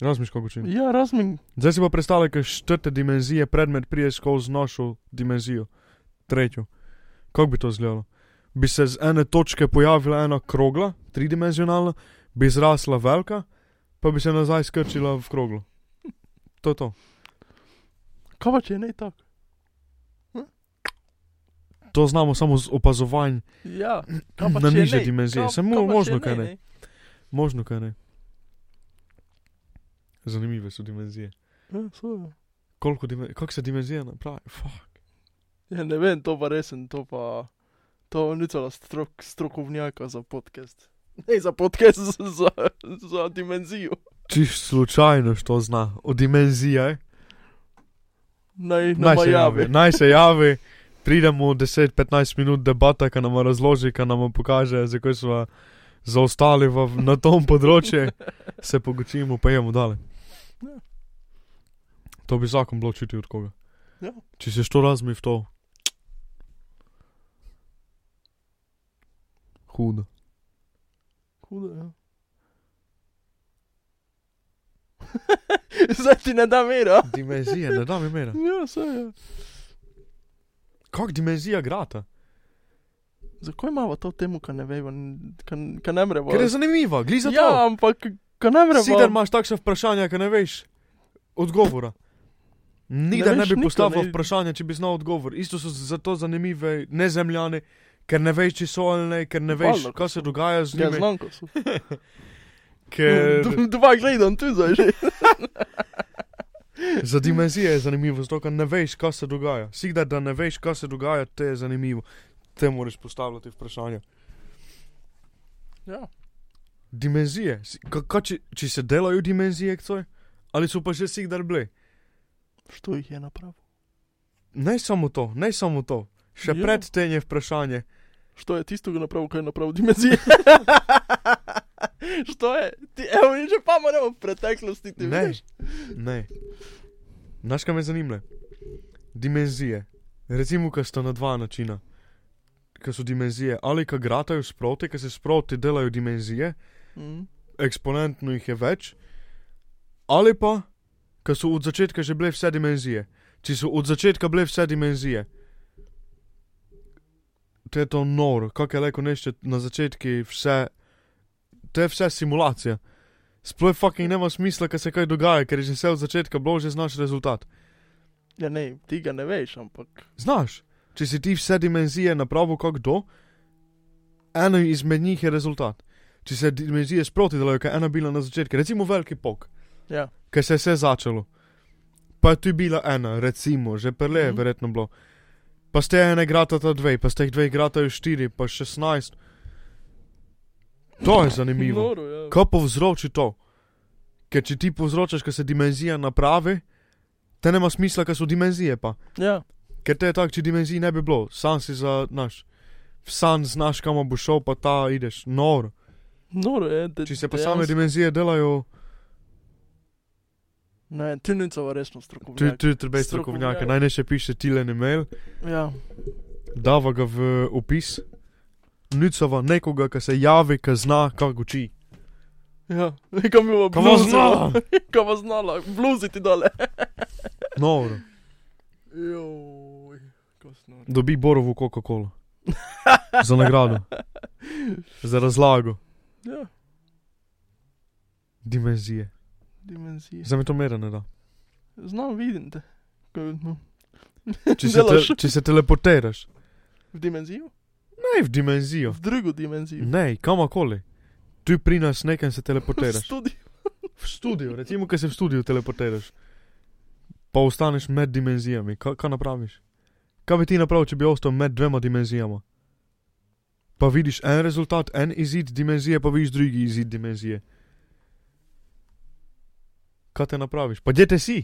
B: Razmišljaš, kako čim?
A: Ja, razmin.
B: Zdaj si pa predstavljaj, kaj četrte dimenzije predmet pride skozi našo dimenzijo, tretjo. Kako bi to izgledalo? Bi se z ene točke pojavila ena krogla, tridimenzionalna, bi zrasla velika, pa bi se nazaj skrčila v kroglo. To je to.
A: Kaj pa če ne tako?
B: To znamo samo z opazovanjem,
A: Ja, kaj pa
B: Na
A: če
B: nižje
A: ne?
B: dimenzije,
A: Kaj-
B: samo
A: kaj pa če
B: možno, kaj ne. možno kaj ne. Zanimive so dimenzije.
A: Ja, so.
B: Koliko dimenzij, kako se dimenzije napravi? Fuck.
A: Ja, ne vem, to pa resen, to pa. To ni celo strok, strokovnjaka za podcast. Ne za podcast, za, za dimenzijo.
B: Čiš slučajno, što zna o dimenzijah.
A: Naj,
B: Naj
A: naj
B: se javi. Naj se javi. Pridemo 10-15 minut debata, ki nam razloži, ki nam pokaže, zakaj smo zaostali v, na tom področju, se pogočimo, pa jemo dalje.
A: Ja.
B: To bi zakon bilo čuti od koga.
A: Ja.
B: Če se to razmi v to. Hudo.
A: Hudo, ja. Zdaj ti ne da mira.
B: Dimenzije, ne da mi mera.
A: Ja, vse je.
B: Kak dimenzija grata?
A: Zakaj imamo to temu, kar ne vemo, n- ka- ka ne mremo?
B: Ker je zanimiva, gliza to.
A: Ja, ampak ka ne mremo.
B: Sicer imaš takšne vprašanja, ki ne veš odgovora. Nikdar
A: Ne
B: ne,
A: veš
B: ne bi
A: nikoli,
B: postavil
A: ne.
B: vprašanja, če bi znal odgovor. Isto so zato zanimive nezemljane, ker ne veš, če so ali ne, ker ne veš,
A: Valjda, ko
B: kaj se dogaja z
A: Ja,
B: njimi.
A: znam, ko so.
B: Ker
A: D- Dva gledam tu zdaj že.
B: za dimenzije je zanimivo, zato ker ne veš, kaj se dogaja. Sicer da ne veš, kaj se dogaja, te je zanimivo. Te moraš postavljati vprašanja.
A: Ja.
B: Dimenzije, si- ka, ka, če, če se delajo dimenzije, kaj je? Ali so pa že sicer bile?
A: Što jih je napravil?
B: Ne samo to, ne samo to. Še
A: Ja.
B: pred tem je vprašanje.
A: Što je tisto, kar je napravil, kar je napravil dimenzije? Što je? Ti, evo, mi že pa moramo v preteklosti, ti
B: Ne,
A: veš.
B: ne. Znaš, kaj me zanima? Dimenzije. Recimo, ki sta na dva načina. Ki so dimenzije, ali ki gratajo sproti, ki se sproti delajo dimenzije,
A: Mm.
B: eksponentno jih je več, ali pa, ki so od začetka že bile vse dimenzije. Če so od začetka bile vse dimenzije. To je to noro, kako je rekel nešče na začetku, vse, to je vse simulacija. Sploh fucking nema smisla, ker se kaj dogaja, ker je že vse od začetka bilo, že znaš rezultat.
A: Ja, ne, ti ga ne veš, ampak.
B: Znaš, če si ti vse dimenzije napravil, kako kdo, eno izmed njih je rezultat. Če se dimenzije sproti delajo, kaj je ena bila na začetku, recimo veliki pok,
A: Ja.
B: ki se je vse začelo. Pa je tu bila ena, recimo, že prele je
A: Mhm.
B: verjetno bilo. pa ste ene grata ta dve, pa ste jih dve grata jo štiri, pa šestnajst. To je zanimivo.
A: Noro, ja.
B: Kaj povzroči to? Ker če ti povzročaš, da se dimenzija napravi, te nema smisla, ker so dimenzije pa.
A: ja.
B: Ker te je tako, če dimenzij ne bi bilo, sam si za naš. Sam znaš, kam boš šel, pa ta ideš, nor.
A: Noro je. De,
B: Če se pa
A: dejansko-
B: same dimenzije delajo,
A: Ne, ti nisem pa resno
B: ti
A: strokovnjak.
B: ti trebej strokovnjaka,
A: Strokovnjak.
B: naj ne še piše tilen e-mail,
A: Ja.
B: dava ga v opis. Nucava nekoga, ki se javi, ki zna, kako uči.
A: Ja, kam je bilo
B: Kaj bo znala?
A: Kam je znala, bluzi ti dole.
B: Nor,
A: Joj, kosno.
B: dobi borovo Coca-Cola. Za nagrado, za razlago,
A: Ja,
B: dimenzije.
A: dimenzije.
B: Za me to mera ne da.
A: Znam, vidim te. Ko- no.
B: Če se,
A: Delaš.
B: te, če se teleporteraš,
A: V dimenzijo?
B: ne v dimenzijo.
A: V drugo dimenzijo.
B: Ne, kamorkoli. Tu pri nas nekaj se
A: V
B: teleportiraš.
A: studiu.
B: V studiu, recimo, ki se v studiu teleportiraš. Pa ostaneš med dimenzijami. Kaj, kaj napraviš? Kaj bi ti napravil, če bi ostal med dvema dimenzijama? Pa vidiš en rezultat, en izid dimenzije, pa vidiš drugi izid dimenzije. Kaj te napraviš? Pa dete si?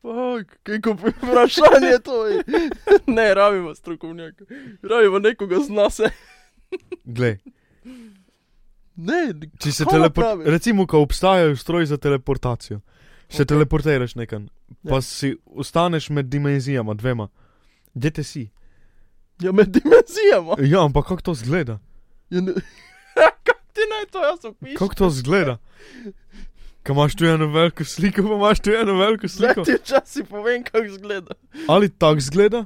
A: Fak, kako vprašanje je to je. Ne, rabimo strokovnjaka. Rabimo nekoga zna se.
B: Glej,
A: Ne,
B: če se
A: Kaj
B: teleportiraš,
A: napraviš?
B: recimo, ko obstajajo stroji za teleportacijo, se
A: Ok.
B: okay. teleportiraš nekam, pa
A: Ja.
B: ja. si ostaneš med dimenzijama, dvema. Dete si.
A: ja med dimenzijama.
B: Ja, ampak kako to zgleda?
A: Ja, ne- Kako ti naj to jaz opišem?
B: Kako to zgleda? Kaj imaš tu eno veliko sliko, pa imaš tu eno veliko
A: Zdaj
B: sliko.
A: ti včasih povem, kako izgleda.
B: Ali tako zgleda,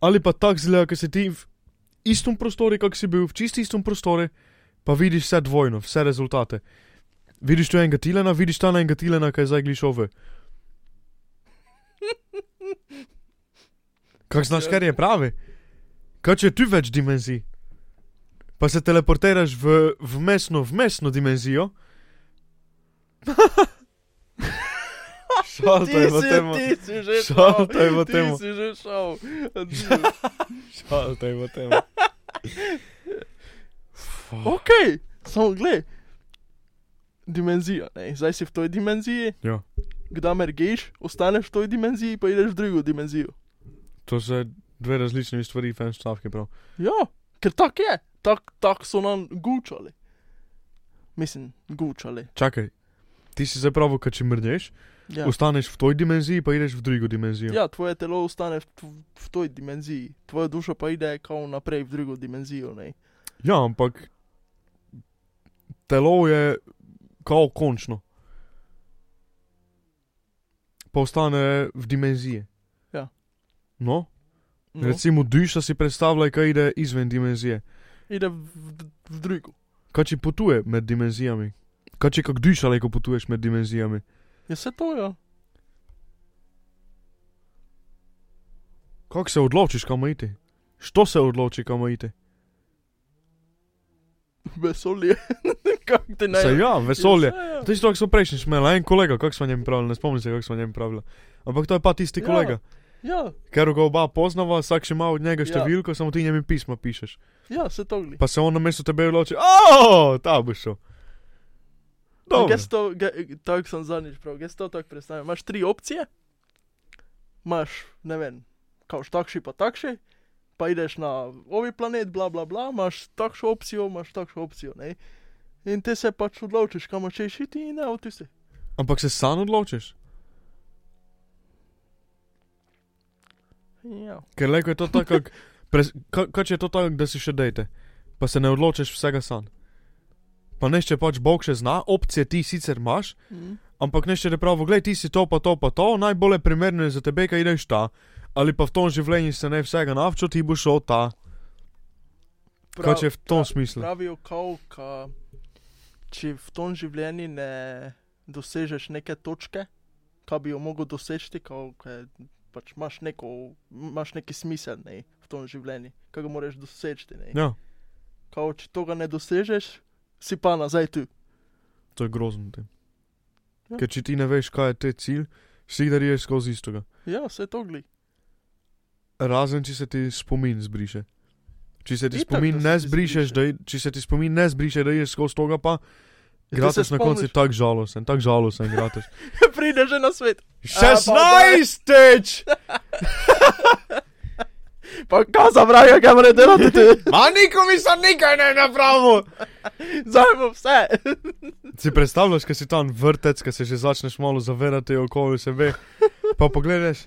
B: ali pa tako zgleda, ker si ti v istem prostoru, kak si bil, v čisti istem prostoru, pa vidiš vse dvojno, vse rezultate. Vidiš tu enega tilena, vidiš ta enega tilena, kaj zdaj gliš ove. Kak znaš, kar je pravi? Kaj če je tu več dimenzij? Pa se teleportiraš v vmesno, vmesno dimenzijo.
A: Ti
B: Šaltaj v
A: si,
B: temo.
A: ti si že šel.
B: Šaltaj v
A: Ti
B: temo.
A: si že šel.
B: Šaltaj v temo.
A: ok, samo gled. Dimenzija, ne? zdaj si v toj dimenziji.
B: Ja.
A: Kdaj mergeš, ostaneš v toj dimenziji, pa ideš v drugo dimenzijo.
B: To so dve različni stvari, fajn stavke prav.
A: Ja, ker tak je, tak, tak so nam gučali. Mislim, gučali.
B: Čakaj, ti si zdaj pravo, kad če mrdeš, ja.
A: Ja.
B: ostaneš v toj dimenziji, pa ideš v drugo dimenzijo.
A: ja, tvoje telo ostane v, tv- v toj dimenziji, tvoja duša pa ide kao naprej v drugo dimenzijo. Ne?
B: ja ampak telo je kao končno. Pa ostane v dimenziji.
A: Ja.
B: No, no.
A: No,
B: recimo duša si predstavlja, kaj ide izven dimenzije.
A: ide v, v, v drugo.
B: Kaj če potuje med dimenzijami? Kaj če kak duša, ko potuješ med dimenzijami?
A: Je se to, ja.
B: Kako se odločiš, kam iti? Što se odloči, kam iti?
A: vesolje. Kako ti naj
B: Se ja, vesolje.
A: Ja, ja.
B: To je isto, kot smo prejšnjič imeli, en kolega, kako smo njem pravili, ne spomnim se, kako smo njem pravili. Ampak to je pa tisti
A: Ja.
B: ja. kolega,
A: Ja,
B: ker ga oba poznava, vsak še ima od njega
A: Ja.
B: številko, ja. samo ti njemu pisma pišeš.
A: ja, se to gleda.
B: Pa se on na mestu tebe odloči, o, ta bo šel. Dobro.
A: Jaz to, ge- tako sem zadnjič prav, jaz to tako predstavljam. Imaš tri opcije, imaš, ne vem, kaoš takši pa takši, pa ideš na ovi planet, bla bla bla, imaš takšno opcijo, imaš takšno opcijo, ne. In ti se pač odločiš, kam hočeš iti in ne, ti si.
B: Ampak se sam odločiš,
A: Ja.
B: ker leko je to tako, kak- pres- ka- kaj če je to tako, da si še dejte, pa se ne odločiš vsega sam. Pa nešče pač Bog še zna, opcije ti sicer imaš,
A: Mm.
B: Ampak ne še pravi, gledaj, ti si to, pa to, pa to, najbolje primerno je za tebe, kaj ideš ta. Ali pa v tom življenju se ne vsega navčo, ti boš šel ta. Prav, kaj je v tom smislu?
A: Pravijo, kao, ka, če v tom življenju ne dosežeš neke točke, ki bi jo mogel doseči, kao, ke, pač imaš, neko, imaš neki smisel ne, v tom življenju, ki ga moraš doseči. Ne.
B: Ja,
A: Kao, če tega ne dosežeš, si pa nazaj tu.
B: to je grozno. Te.
A: Ja.
B: Ker če ti ne veš, kaj je te cilj, si da riješ skozi istoga.
A: Ja, vse to gli.
B: Razen, če se ti spomin zbriše. Če se ti
A: Itak,
B: spomin
A: da se
B: ne
A: ti
B: zbrišeš,
A: zbriše. Ja,
B: da, i- če se ti spomin ne zbriše, da je skozi toga, pa
A: se
B: gratis na koncu je
A: spomniš?
B: tako žalosten, tako žalosten, gratis.
A: Pride že na svet.
B: Šestnajstič!
A: Ja. Pa kaj za vraga, kaj mora delati? ti?
B: Ma nikomi sem nikaj ne napravil!
A: Zajmo vse.
B: Si predstavljaš, kaj si tam vrtec, kaj se že začneš malo zavedati okoli sebe, pa pogledaš.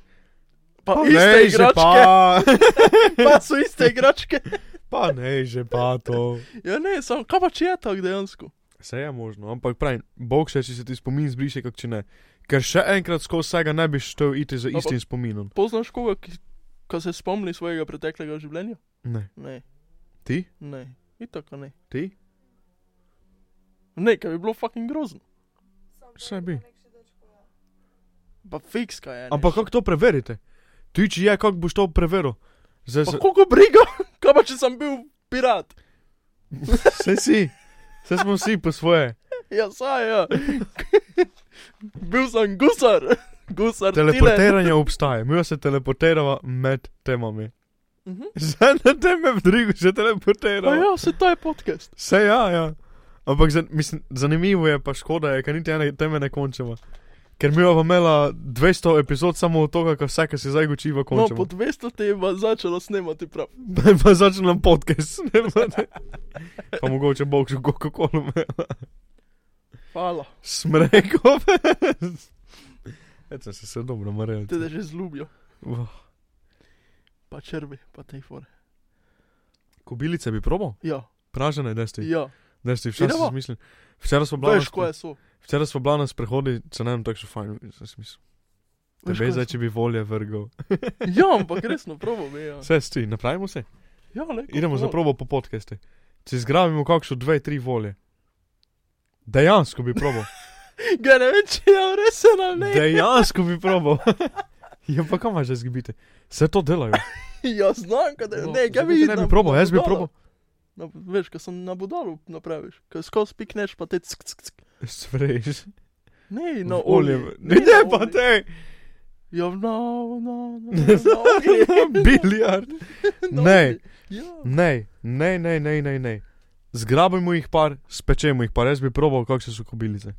A: Pa, pa
B: ne,
A: iste
B: že
A: igračke.
B: pa,
A: Pa so iste igračke.
B: pa ne, že pa to.
A: Ja ne, samo kaj pa če je tako dejansko.
B: Vse je možno, ampak pravim, bog še, če se ti spomin zbriše, kak če ne. Ker še enkrat skozi vsega ne bi šel iti za
A: No,
B: istim spominom.
A: Poznaš koga, ki, ki se spomni svojega preteklega življenja?
B: Ne.
A: Ne,
B: Ti?
A: ne, itako ne.
B: Ti?
A: Ne, ker bi bilo fucking grozno.
B: Vse bi.
A: Pa fikska je. ne.
B: Ampak kako to preverite? Ti, če je, kako boš to preveril? Zdaj
A: Pa
B: se...
A: koliko briga, kaj pa če sem bil pirat?
B: Vse si. Vse smo vsi po svoje.
A: Ja, saj, ja. bil sem gusar. Gusar. tile.
B: Teleportiranje obstaja. Mi se teleportirava med temami.
A: Mhm.
B: Zdaj na teme v drugo se
A: Pa
B: teleportirava.
A: ja, se to je podcast.
B: Vse ja, ja. Ampak zan, mislim, zanimivo je, pa škoda je, ker niti ene teme ne končamo. Ker mi bomo imeli 200 epizod samo od tega, kar vsake se zdaj učiva
A: No,
B: končamo.
A: po 200 te je pa začelo snemati prav.
B: Daj pa začnem podcast, ne vem. Pa mogoče bo že Coca-Cola imela.
A: Hvala,
B: Smrekov. Eto se se dobro mrejo.
A: te da že zlubijo. Pa črvi, pa te fore.
B: Kobilice bi probal?
A: Ja,
B: Pražene, da ste.
A: ja.
B: Da ste včasih
A: Idemo.
B: zmislili. Včeraj smo bili
A: Veš, koje so.
B: včeraj smo bili na sprehodu, se ne vem, tako še fajn, sem si mislil.
A: Veš,
B: Tebe
A: koje
B: zdaj,
A: so.
B: če bi volje vrgal.
A: Ja, ampak resno, probo mi je.
B: Vse sti, napravimo se.
A: Ja, lejko,
B: Idemo za
A: probo.
B: probo po podcaste. Če zgrabimo kakšno dve, tri volje. Dejansko bi probo.
A: Ga ne vem, če je resen ali ne.
B: Dejansko bi probo. Ja, pa kam že zgibite? Vse to delajo.
A: Ja, znam, kaj da je. Ne,
B: Zakaj
A: ga
B: ti
A: vidiš.
B: No, Ne bi probo, jaz bi probo.
A: Na, veš, ko sem na budalu napraviš, ko skozi pikneš, pa te ck, ck, ck.
B: Svreš.
A: Ne,
B: Na
A: na
B: olje.
A: olje.
B: Ne, ne,
A: na
B: pa
A: olje.
B: te.
A: Ja, no, no, no. no
B: Biliard. Ne.
A: Ja.
B: Ne, ne, ne, ne, ne, ne. Zgrabimo jih par, spečemo jih par. Jaz bi probal, kakšne so kobilice.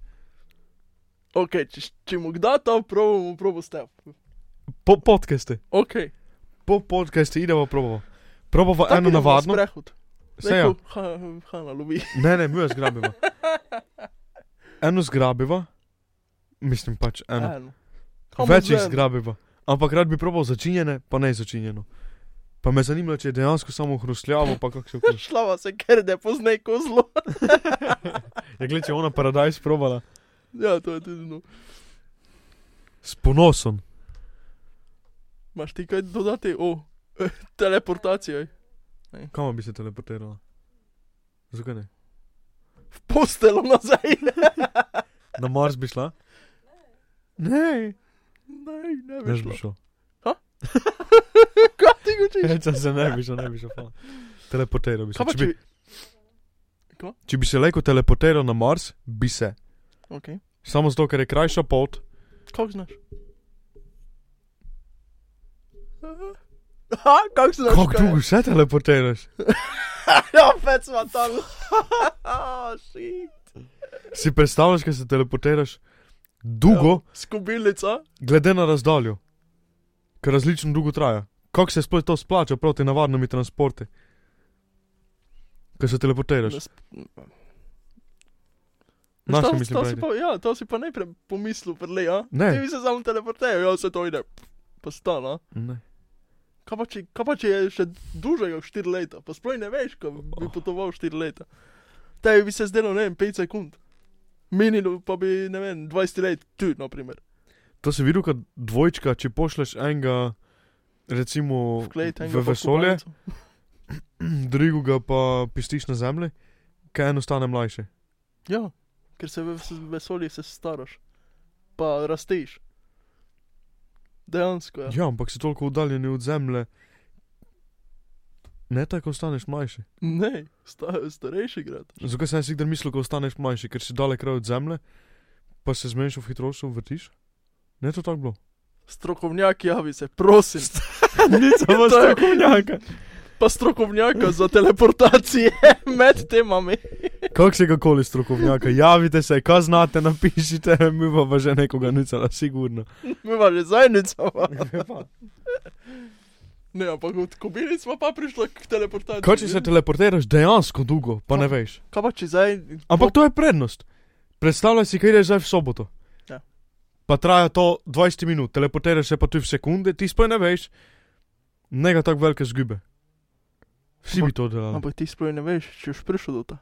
A: Ok, če, če mu kdo to probo, mu probo step.
B: Po podcaste.
A: Ok.
B: Po podcaste idemo probavo. Probavo eno navadno.
A: Prehod.
B: Saj ja.
A: Hana, ljubi.
B: Ne, ne, mi jo zgrabiva. Eno zgrabiva, mislim pač eno.
A: Eno.
B: Več jih zgrabiva. Ampak rad bi probal začinjene, pa ne začinjeno. Pa me zanima, če je dejansko samo hrustljavo, pa kako se vključi.
A: Šlava se kerde, poznaj kozlo.
B: Ja, gled, če je ona paradajz probala.
A: ja, to je tudi no.
B: S ponosom.
A: Maš ti kaj dodati? O, teleportacija.
B: Kam bi se teleportirala? Zakaj ne?
A: V postelo nazaj.
B: Na Mars bi šla? Ne.
A: ne, ne
B: Ne
A: veš.
B: bi šla.
A: Kaj ti gočiš?
B: Reče se ne bi šla, ne bi šla. hvala. Teleportiral bi se.
A: Kaj pa
B: Če bi,
A: Ja, če...
B: če bi se lajko teleportiral na Mars, bi se.
A: Ok.
B: Samo zato, ker je krajša pot.
A: Kako znaš? Ha, kako znaš?
B: Kako
A: kaj je?
B: dolgo se teleportiraš?
A: Ja, opet smo tam. Ah, shit.
B: Si predstavljaš, da se teleportiraš
A: Ja.
B: dolgo,
A: Skubilica.
B: glede na razdaljo, ker različno dolgo traja. Kako se sploh to splača proti navadnimi transporti? Ker se teleportiraš.
A: Ne sp-
B: Naše
A: To-
B: mislim,
A: to si
B: brejde.
A: pa, ja, to si pa najprej pomislil, prele, a?
B: Ne.
A: Ti bi se samo teleportiral, ja, se to ide. Pa stala.
B: Ne.
A: Kaj pa če, kaj pa če je še duže kot 4 leta? Pa sploh ne veš, ko
B: Oh.
A: bi potoval 4 leta. Tebi bi se zdelo, ne vem, 5 sekund. Minilo pa bi, ne vem, 20 let, tu, na primer.
B: To si videl kot dvojčka, če pošleš enega, recimo,
A: Vklejte enega
B: v
A: pa v
B: vesolje,
A: kopalnico.
B: drugega pa pistiš na zemlji, kaj eno stane mlajše.
A: Ja, ker se v v vesolju se staraš, pa rasteš. Dejansko je. Ja.
B: Ja, ampak si toliko udaljeni od zemlje, ne tako ostaneš mlajši.
A: Ne, sta, starejši grad.
B: Zakaj sem si kdaj mislil, da ostaneš manjši, ker si dalek kraj od zemlje, pa se zmeniš v hitrost, vrtiš? Ne, to tako bilo.
A: strokovnjak javi ja, se, prosim.
B: Nič samo
A: To je-
B: strokovnjaka.
A: Pa strokovnjaka za teleportacije med temami.
B: Kak se kakoli strokovnjaka, javite se, kaj znate, napišite, mi pa, pa že nekoga nicala, sigurno.
A: Mi pa že zajnicama.
B: pa.
A: Ne, ampak od kobili smo pa prišli k teleportaciji.
B: Kaj če se teleportiraš dejansko dolgo, pa ne veš.
A: Kaj pa če zdaj...
B: Ampak to je prednost. Predstavljaj si, kaj greš zdaj v soboto.
A: Ja.
B: Pa traja to 20 minut, teleportiraš se pa tu v sekunde, ti sploh ne veš. Nega tako velike zgube. Vsi bi to delali.
A: Ampak ti sploh ne veš, če už prišel do ta.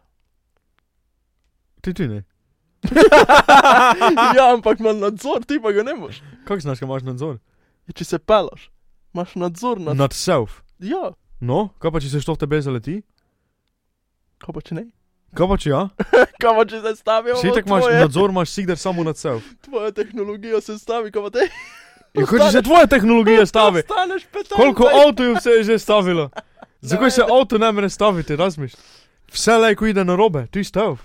B: Ti ti ne.
A: ja, ampak imaš nadzor, ti pa ga ne moreš.
B: Kako znaš, kaj imaš nadzor?
A: Ja, Če se pelaš, imaš nadzor nad...
B: Nad self.
A: Ja,
B: No, kaj pa če se što v tebe zaleti?
A: kaj pa če ne?
B: Kaj pa če ja?
A: Kaj pa če se stavijo?
B: Vsi tako imaš
A: tvoje,
B: nadzor, imaš sigdar samo nad self.
A: Tvoja tehnologija se stavi, kaj pa te?
B: In kaj če se tvoja tehnologija stavi?
A: Staneš petal.
B: Koliko avtojev se je že stavilo? Zakaj se avto ne more staviti, razmišljaš? Vse lajko ide na robe, ti stav.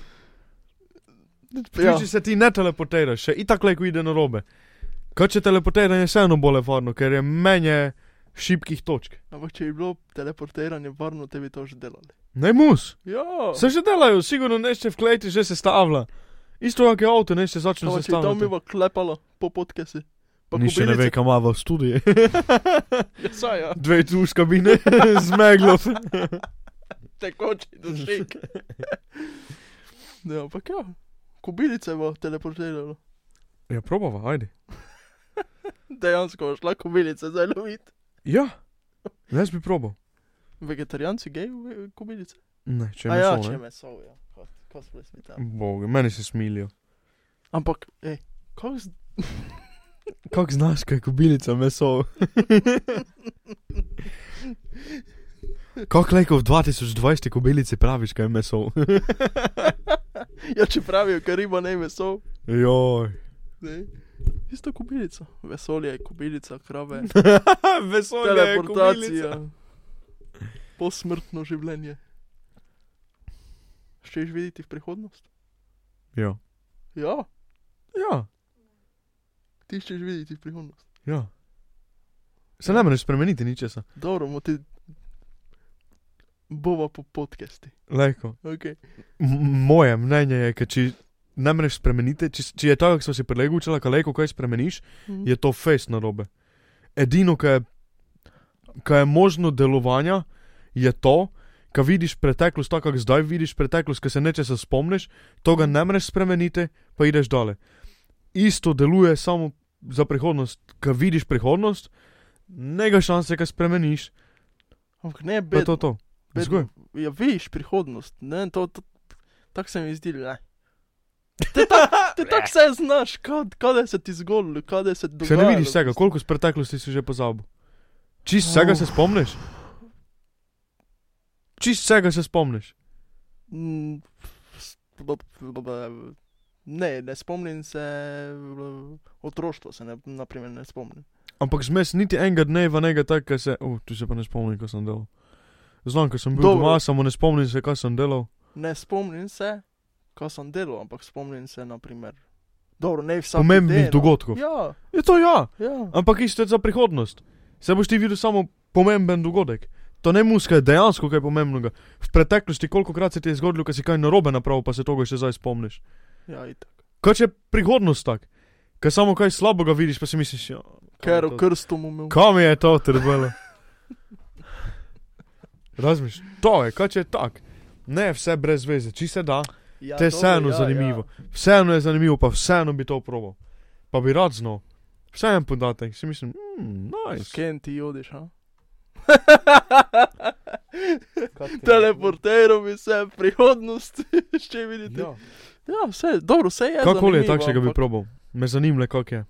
A: Ja,
B: Tudi če se ti ne teleportiraš, še itak lajko ide na robe. Kaj če teleportiranje je vseeno bolj nevarno, ker je menje šibkih točk.
A: ampak če bi bilo teleportiranje varno, te bi to že delali.
B: Ne mus,
A: Ja.
B: se že delajo, sigurno nešče v kleti že se stavlja. Isto kak je avto, nešče začne
A: Kaj če bi
B: se
A: tam mi
B: stavljati.
A: bo klepalo po podkesi?
B: Nišče ne ve, kam ima v studiju.
A: Ja, saj, ja.
B: Dve tu iz kabine, zmeglo.
A: tekoči dušik. Ne, ampak ja, kubilice bo teleportiralo.
B: Ja, probava, ajde.
A: Dejansko boš lahko kubilice zdaj lovit.
B: Ja, jaz bi probal.
A: Vegetarijanci gej v- kubilice.
B: Ne, če
A: A
B: ne.
A: ja, če meso, ja. Ko- ko smo bili tam.
B: Bog, meni se smilijo.
A: Ampak, ej, kako z...
B: Kako znaš, kaj je kubilica meso? Kako lajko v 2020 kubilici praviš, kaj je meso?
A: Ja, če pravijo, kar riba ne je meso,
B: Joj.
A: ne. Isto kubilica. Vesolje je kubilica, krave,
B: meso
A: teleportacija. Posmrtno življenje. Ščeš videti v prihodnost?
B: Ja.
A: Ja,
B: Ja,
A: ti ščeš videti v prihodnost.
B: ja. Se ne moreš spremeniti ničesa.
A: Dobro, bomo ti bova po podcesti.
B: Lajko.
A: Okay.
B: M- Moje mnenje je, da če ne moreš spremeniti, če, če je tako, kot so si prelegu učila, kaj lajko kaj spremeniš,
A: Hm.
B: je to fejs narobe. Edino, kar je, kar je možno delovanja, je to, kar vidiš preteklost, tako kot zdaj vidiš preteklost, ki se nečesa spomniš, tega ne moreš spremeniti, pa ideš dale. Isto deluje samo za prihodnost, ko vidiš prihodnost, nega šanse, da spremeniš,
A: Ampak ne,
B: pa je
A: bedno,
B: to to.
A: bedno.
B: Zgoj.
A: Ja, vidiš prihodnost, ne, to, to tako se mi zdi, ne. Te tako tak se znaš, kad- kada se ti zgodilo, kada se
B: Se
A: dogajalo.
B: ne vidiš vsega, koliko iz preteklosti si že pozabil. Čist
A: Oh.
B: vsega se spomniš. Čist vsega se spomniš.
A: Mm, s- bla- bla- bla- Ne, ne spomnim se, bla- otroštvo se ne, naprimer, ne spomnim.
B: Ampak zmes niti enega dneva, nekaj takega se, uh, tu se pa ne spomnim, kaj sem delal. Znam, ker sem bil
A: Dobro.
B: Dobro. doma, samo ne spomnim se, kaj sem delal.
A: Ne spomnim se, kaj sem delal, ampak spomnim se, naprimer, dobro, ne vsak
B: Pomembnih
A: dan, no.
B: dogodkov.
A: Ja,
B: Je to ja,
A: ja.
B: ampak isto je za prihodnost. Se boš ti videl samo pomemben dogodek. To ne muska je dejansko kaj pomembnega. V preteklosti koliko krat se ti je zgodilo, ko si kaj narobe napravil, pa se tega še zdaj spomniš.
A: Ja, itak.
B: Kaj če je prihodnost tak? Kaj samo kaj slabega vidiš, pa si misliš, ja,
A: Ker
B: kaj
A: v krstu mu umil.
B: Kam je to trbalo? Razmišljaš, to je, kaj če je tak. Ne, vse brez veze, če se da,
A: Ja,
B: te je vseeno zanimivo. Vseeno je zanimivo, pa vseeno bi to probo. Pa bi rad znal. Vse en podatek, si mislim, mm,
A: S
B: nice.
A: Ken ti odiš, a? Teleporteral bi se v prihodnost, še vidite. Ja, ja vse, dobro, vse je.
B: Kakoli je
A: zanimivo,
B: takšnega bi
A: ampak-
B: probal, me zanima, kak je.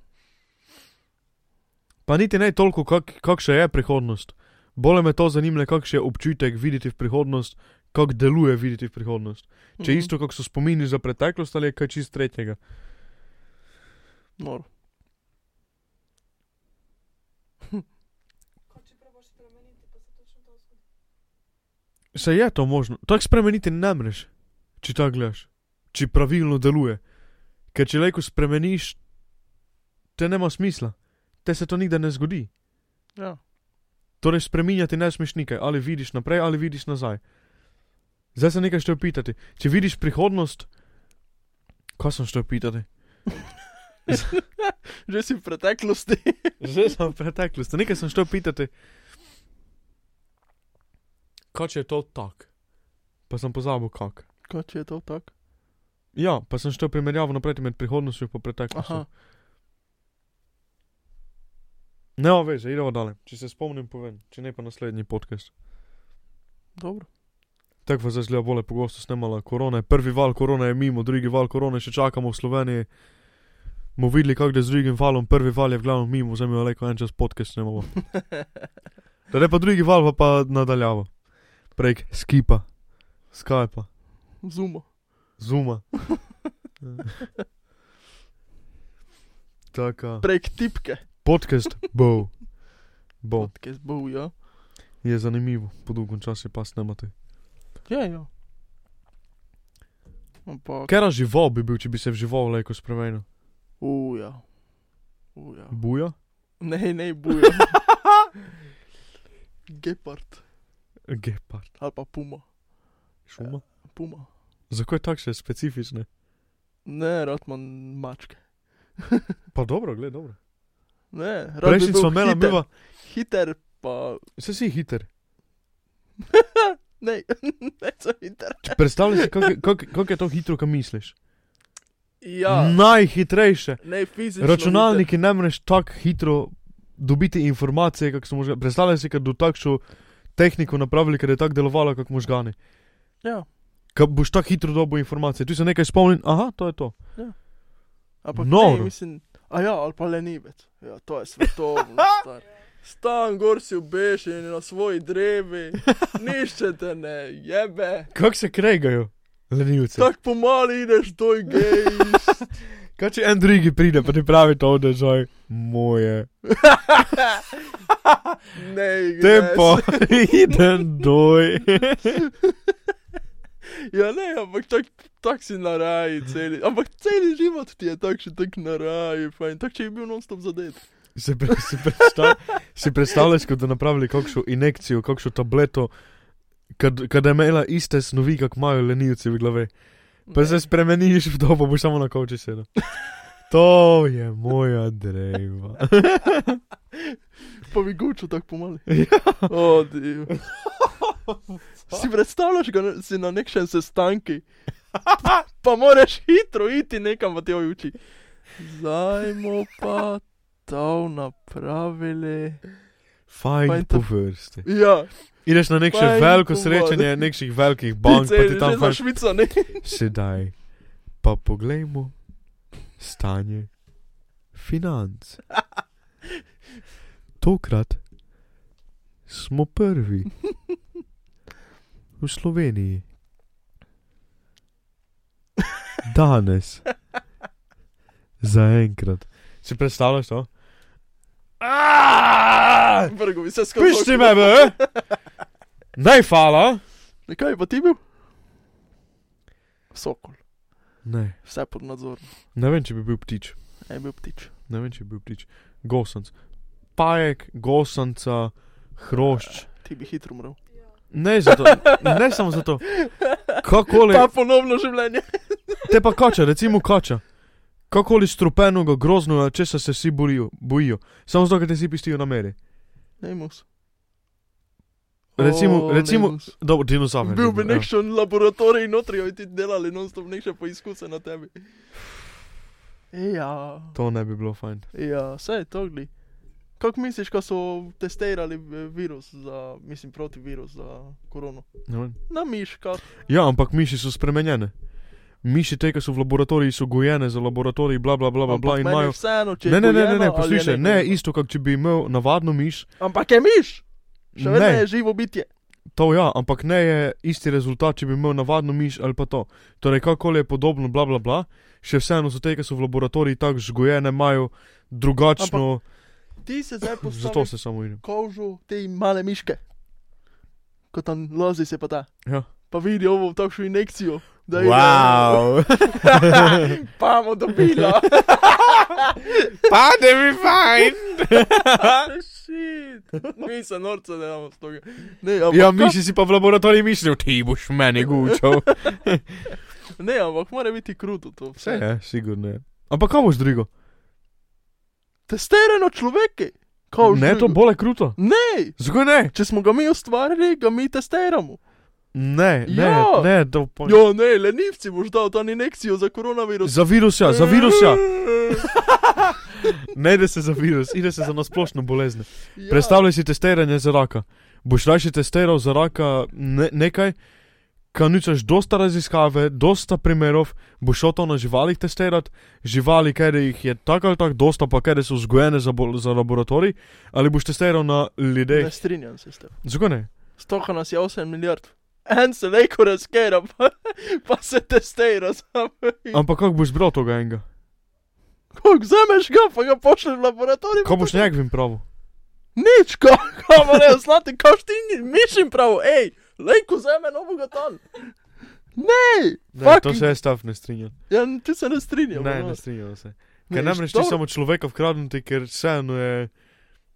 B: Pa niti ne toliko, kak, kak še je prihodnost. Bolje me to zanima, kakšen je občutek videti v prihodnost, kako deluje videti v prihodnost. Če
A: Mhm,
B: isto, kako so spomini za preteklost ali je kaj čist tretjega.
A: Noro.
B: Se je to možno, tako spremeniti ne mreš, če tako gledaš, če pravilno deluje. Ker če lajko spremeniš, te nema smisla. te se to nikdar ne zgodi.
A: Ja.
B: Torej, spreminjati ne smeš nikaj, ali vidiš naprej, ali vidiš nazaj. Zdaj se nekaj še opitati. Če vidiš prihodnost, kaj sem še opitati?
A: Že si v preteklosti.
B: Že sem v preteklosti, nekaj sem šel pitati. Kaj če je to tako? Pa sem pozabil, kako.
A: Kaj če je to tako?
B: Ja, pa sem šel primerjavo naprej med prihodnostjo in preteklostjo.
A: Aha.
B: Ne, veš, idemo dalje. Če se spomnim, povem, če ne pa naslednji podcast.
A: Dobro.
B: Tako vas zdaj bolj pogosto snemala korona. Prvi val korona je mimo, drugi val korone še čakamo v Sloveniji. Mo videli, kako je z drugim valom, prvi val je v glavnem mimo, zdaj mi je rekel en čas podcast snemamo. Da ne pa drugi val, pa, pa nadaljavo. Prek Skipa, Skypa,
A: Zumo.
B: Zuma. Taka.
A: Prek tipke.
B: Podcast bo. Bo.
A: Podcast bo, ja.
B: Je zanimivo, po dolgem času pa snemati.
A: Ja, ja. Ampak.
B: Ker živo bi bil, če bi se v živo vleko spremenil.
A: Uja. Uja.
B: Buja?
A: Ne, ne, buja. Gepard.
B: Gepard.
A: Ali pa puma.
B: Šuma?
A: Puma.
B: Ja. Zakaj je takšne specifične?
A: Ne, Rotman mačke.
B: Pa dobro, gled, dobro.
A: Ne, rad bi
B: Prejšnji
A: bil
B: smo imeli,
A: hiter.
B: miva.
A: Hiter pa.
B: Se si hiter.
A: Ne, ne, so hiter.
B: Če predstavljaš, si, kako je- kako- kako je to hitro, kaj misliš?
A: Ja,
B: Najhitrejše.
A: ne, fizično.
B: Računalniki ne moreš tako hitro dobiti informacije, kako so možgani. Predstavljaj si, da do takšno tehniko napravili, ker je tako delovalo, kot možgani.
A: Hiter. Ja,
B: Kaj boš tako hitro dobil informacije. Tu se nekaj spomnim, aha, to je to.
A: ampak no.
B: Noro.
A: ne, mislim. A ja, ali pa lenivec. Ja, to je svetovno. Star. Stan gor si ubešen na svoji drevi, nišče te ne, jebe.
B: Kako se kregajo, lenivci?
A: Tako pomali ideš, to je gej.
B: Kaj če en drugi pride, pa ti pravi to, da je moje.
A: Ne, greš.
B: Tempo, idem doj.
A: Ja, ne, ampak tak, tak si na raji celi. Ampak celi život ti je tak še tak na raji, fajn. Tak če je bil non-stop zadet.
B: Si, pre, si, predstav, si predstavljaš, kot da napravili kakšno injekcijo, kakšno tableto, kad- kad je imela iste snovi, kak imajo lenivci v glavi. Pa se spremeniš v dobo, boš samo na kavči sedel. To je moja dreva.
A: Pa mi gučo tako pomali.
B: Ja.
A: O, div. Si predstavljaš, ga na- si na nekšen sestanki. Pa moraš hitro iti nekam, pa te ojuči. Zajmo pa to napravili.
B: Fajn
A: Fajn
B: po
A: to-
B: vrsti.
A: Ja,
B: Ideš na nekše
A: Fajn
B: veliko
A: povod.
B: srečanje, nekših velikih bank,
A: ti
B: pa
A: celi,
B: ti
A: že
B: tam
A: za
B: pač
A: Švico, ne?
B: Sedaj pa poglejmo stanje financ. Tokrat smo prvi v Sloveniji. Danes, zaenkrat. Si predstavljaš to? Aaaaaa!
A: Vrgo bi se skočil.
B: Pišti me, eh? be! Naj fala!
A: Kaj pa ti bil? Sokol,
B: Ne,
A: vse pod nadzorom,
B: ne vem, če bi bil ptič.
A: ne je bil ptič.
B: Ne vem, če je bil ptič. Gosenc. Pajek, gosenca, hrošč.
A: Ti bi hitro umrl.
B: Ne, zato, ne samo zato. Kakoli,
A: Ta ponovno življenje.
B: te pa kača, recimo kača. Kakoli strupenega, groznega, če se vsi bojijo, bojijo. Samo zato, ker te si pistijo na meri.
A: Nemus.
B: Recimo- recimo- Dobro, dinozaver. ja.
A: Bil bi nek še laboratorij notri, oj ti delali, non stop nek še poizkuse na tebi. Ja,
B: To ne bi bilo fajn.
A: ja, vse je to gli. Kako misliš, ko so testirali eh, virus, za, mislim protivirus za korono?
B: Ne vem.
A: Na miškah.
B: Ja, ampak miši so spremenjene. Miši te, ki so v laboratoriju, so gojene za laboratorij, bla bla bla bla. bla
A: Ampak
B: in
A: meni je
B: imajo...
A: Vseeno, če je
B: Ne, ne, ne,
A: gojeno
B: ne, ne,
A: ali je
B: poslušaj, ne,
A: negojeno.
B: isto, kot če bi imel navadno miš.
A: Ampak je miš, še vedno
B: Ne.
A: je živo bitje.
B: To ja, ampak ne je isti rezultat, če bi imel navadno miš ali pa to. Torej, kakoli je podobno, bla bla bla, še vseeno so te, ki so v laboratoriju tako žgojene, imajo drugačno.
A: Ti se zdaj
B: Zato
A: postaviš
B: se samo idem.
A: kožo te male miške. Ko tam lozi se pa ta.
B: Ja.
A: Pa vidi ovo takšno injekcijo. Da ide-
C: Wow.
A: Pa bomo dobili.
C: Pade mi fajn.
A: Shit. Mi se norca ne damo s toga. Ne, ampak,
C: Ja, miši si pa v laboratoriju mislil, ti boš meni gučal.
A: ne, ampak mora biti kruto to.
C: Vse
A: Vse.
C: je, sigurno je.
B: Ampak kaj boš drugo?
A: Testirano človeke. Kao
B: Ne, to
A: bo.
B: bolje kruto.
A: Ne,
B: Zakaj ne?
A: če smo ga mi ustvarili, ga mi testiramo.
B: Ne, ne,
A: Ja.
B: ne, to pa.
A: Ja, ne, lenivci boš dal to injekcijo za koronavirus.
B: Za virusja, za virusja. Ne gre se za virus, gre se za nasplošno bolezen.
A: Ja.
B: Predstavljaj si testiranje za raka. Boš rajši testiral za raka ne, nekaj, kar nucaš dosta raziskave, dosta primerov, boš šel to na živalih testirati, živali, ker jih je tako ali tako dosta, pa ker so vzgojene za, bol- za laboratorij, ali boš testiral na ljudeh.
A: Ne strinjam se s tem.
B: Zakaj ne?
A: Stoka nas je 8 milijard. En se lejko razkera, pa, pa se testira sam.
B: Ampak kako boš zbral toga enega?
A: Kako vzameš ga, pa ga pošlješ v laboratorij.
B: Kaj boš njegovim pravu?
A: Nič, kako ne, znate, kao ti mišim prav, hej, lejko zame novega tam. Ne,
B: Ne, to
A: fucking-
B: se jaz stav ne strinjam.
A: ja, ti se ne strinjam.
B: Ne, ne strinjam se. Ker namreč ti
A: dobro.
B: samo človeka vkradnete, ker vseeno je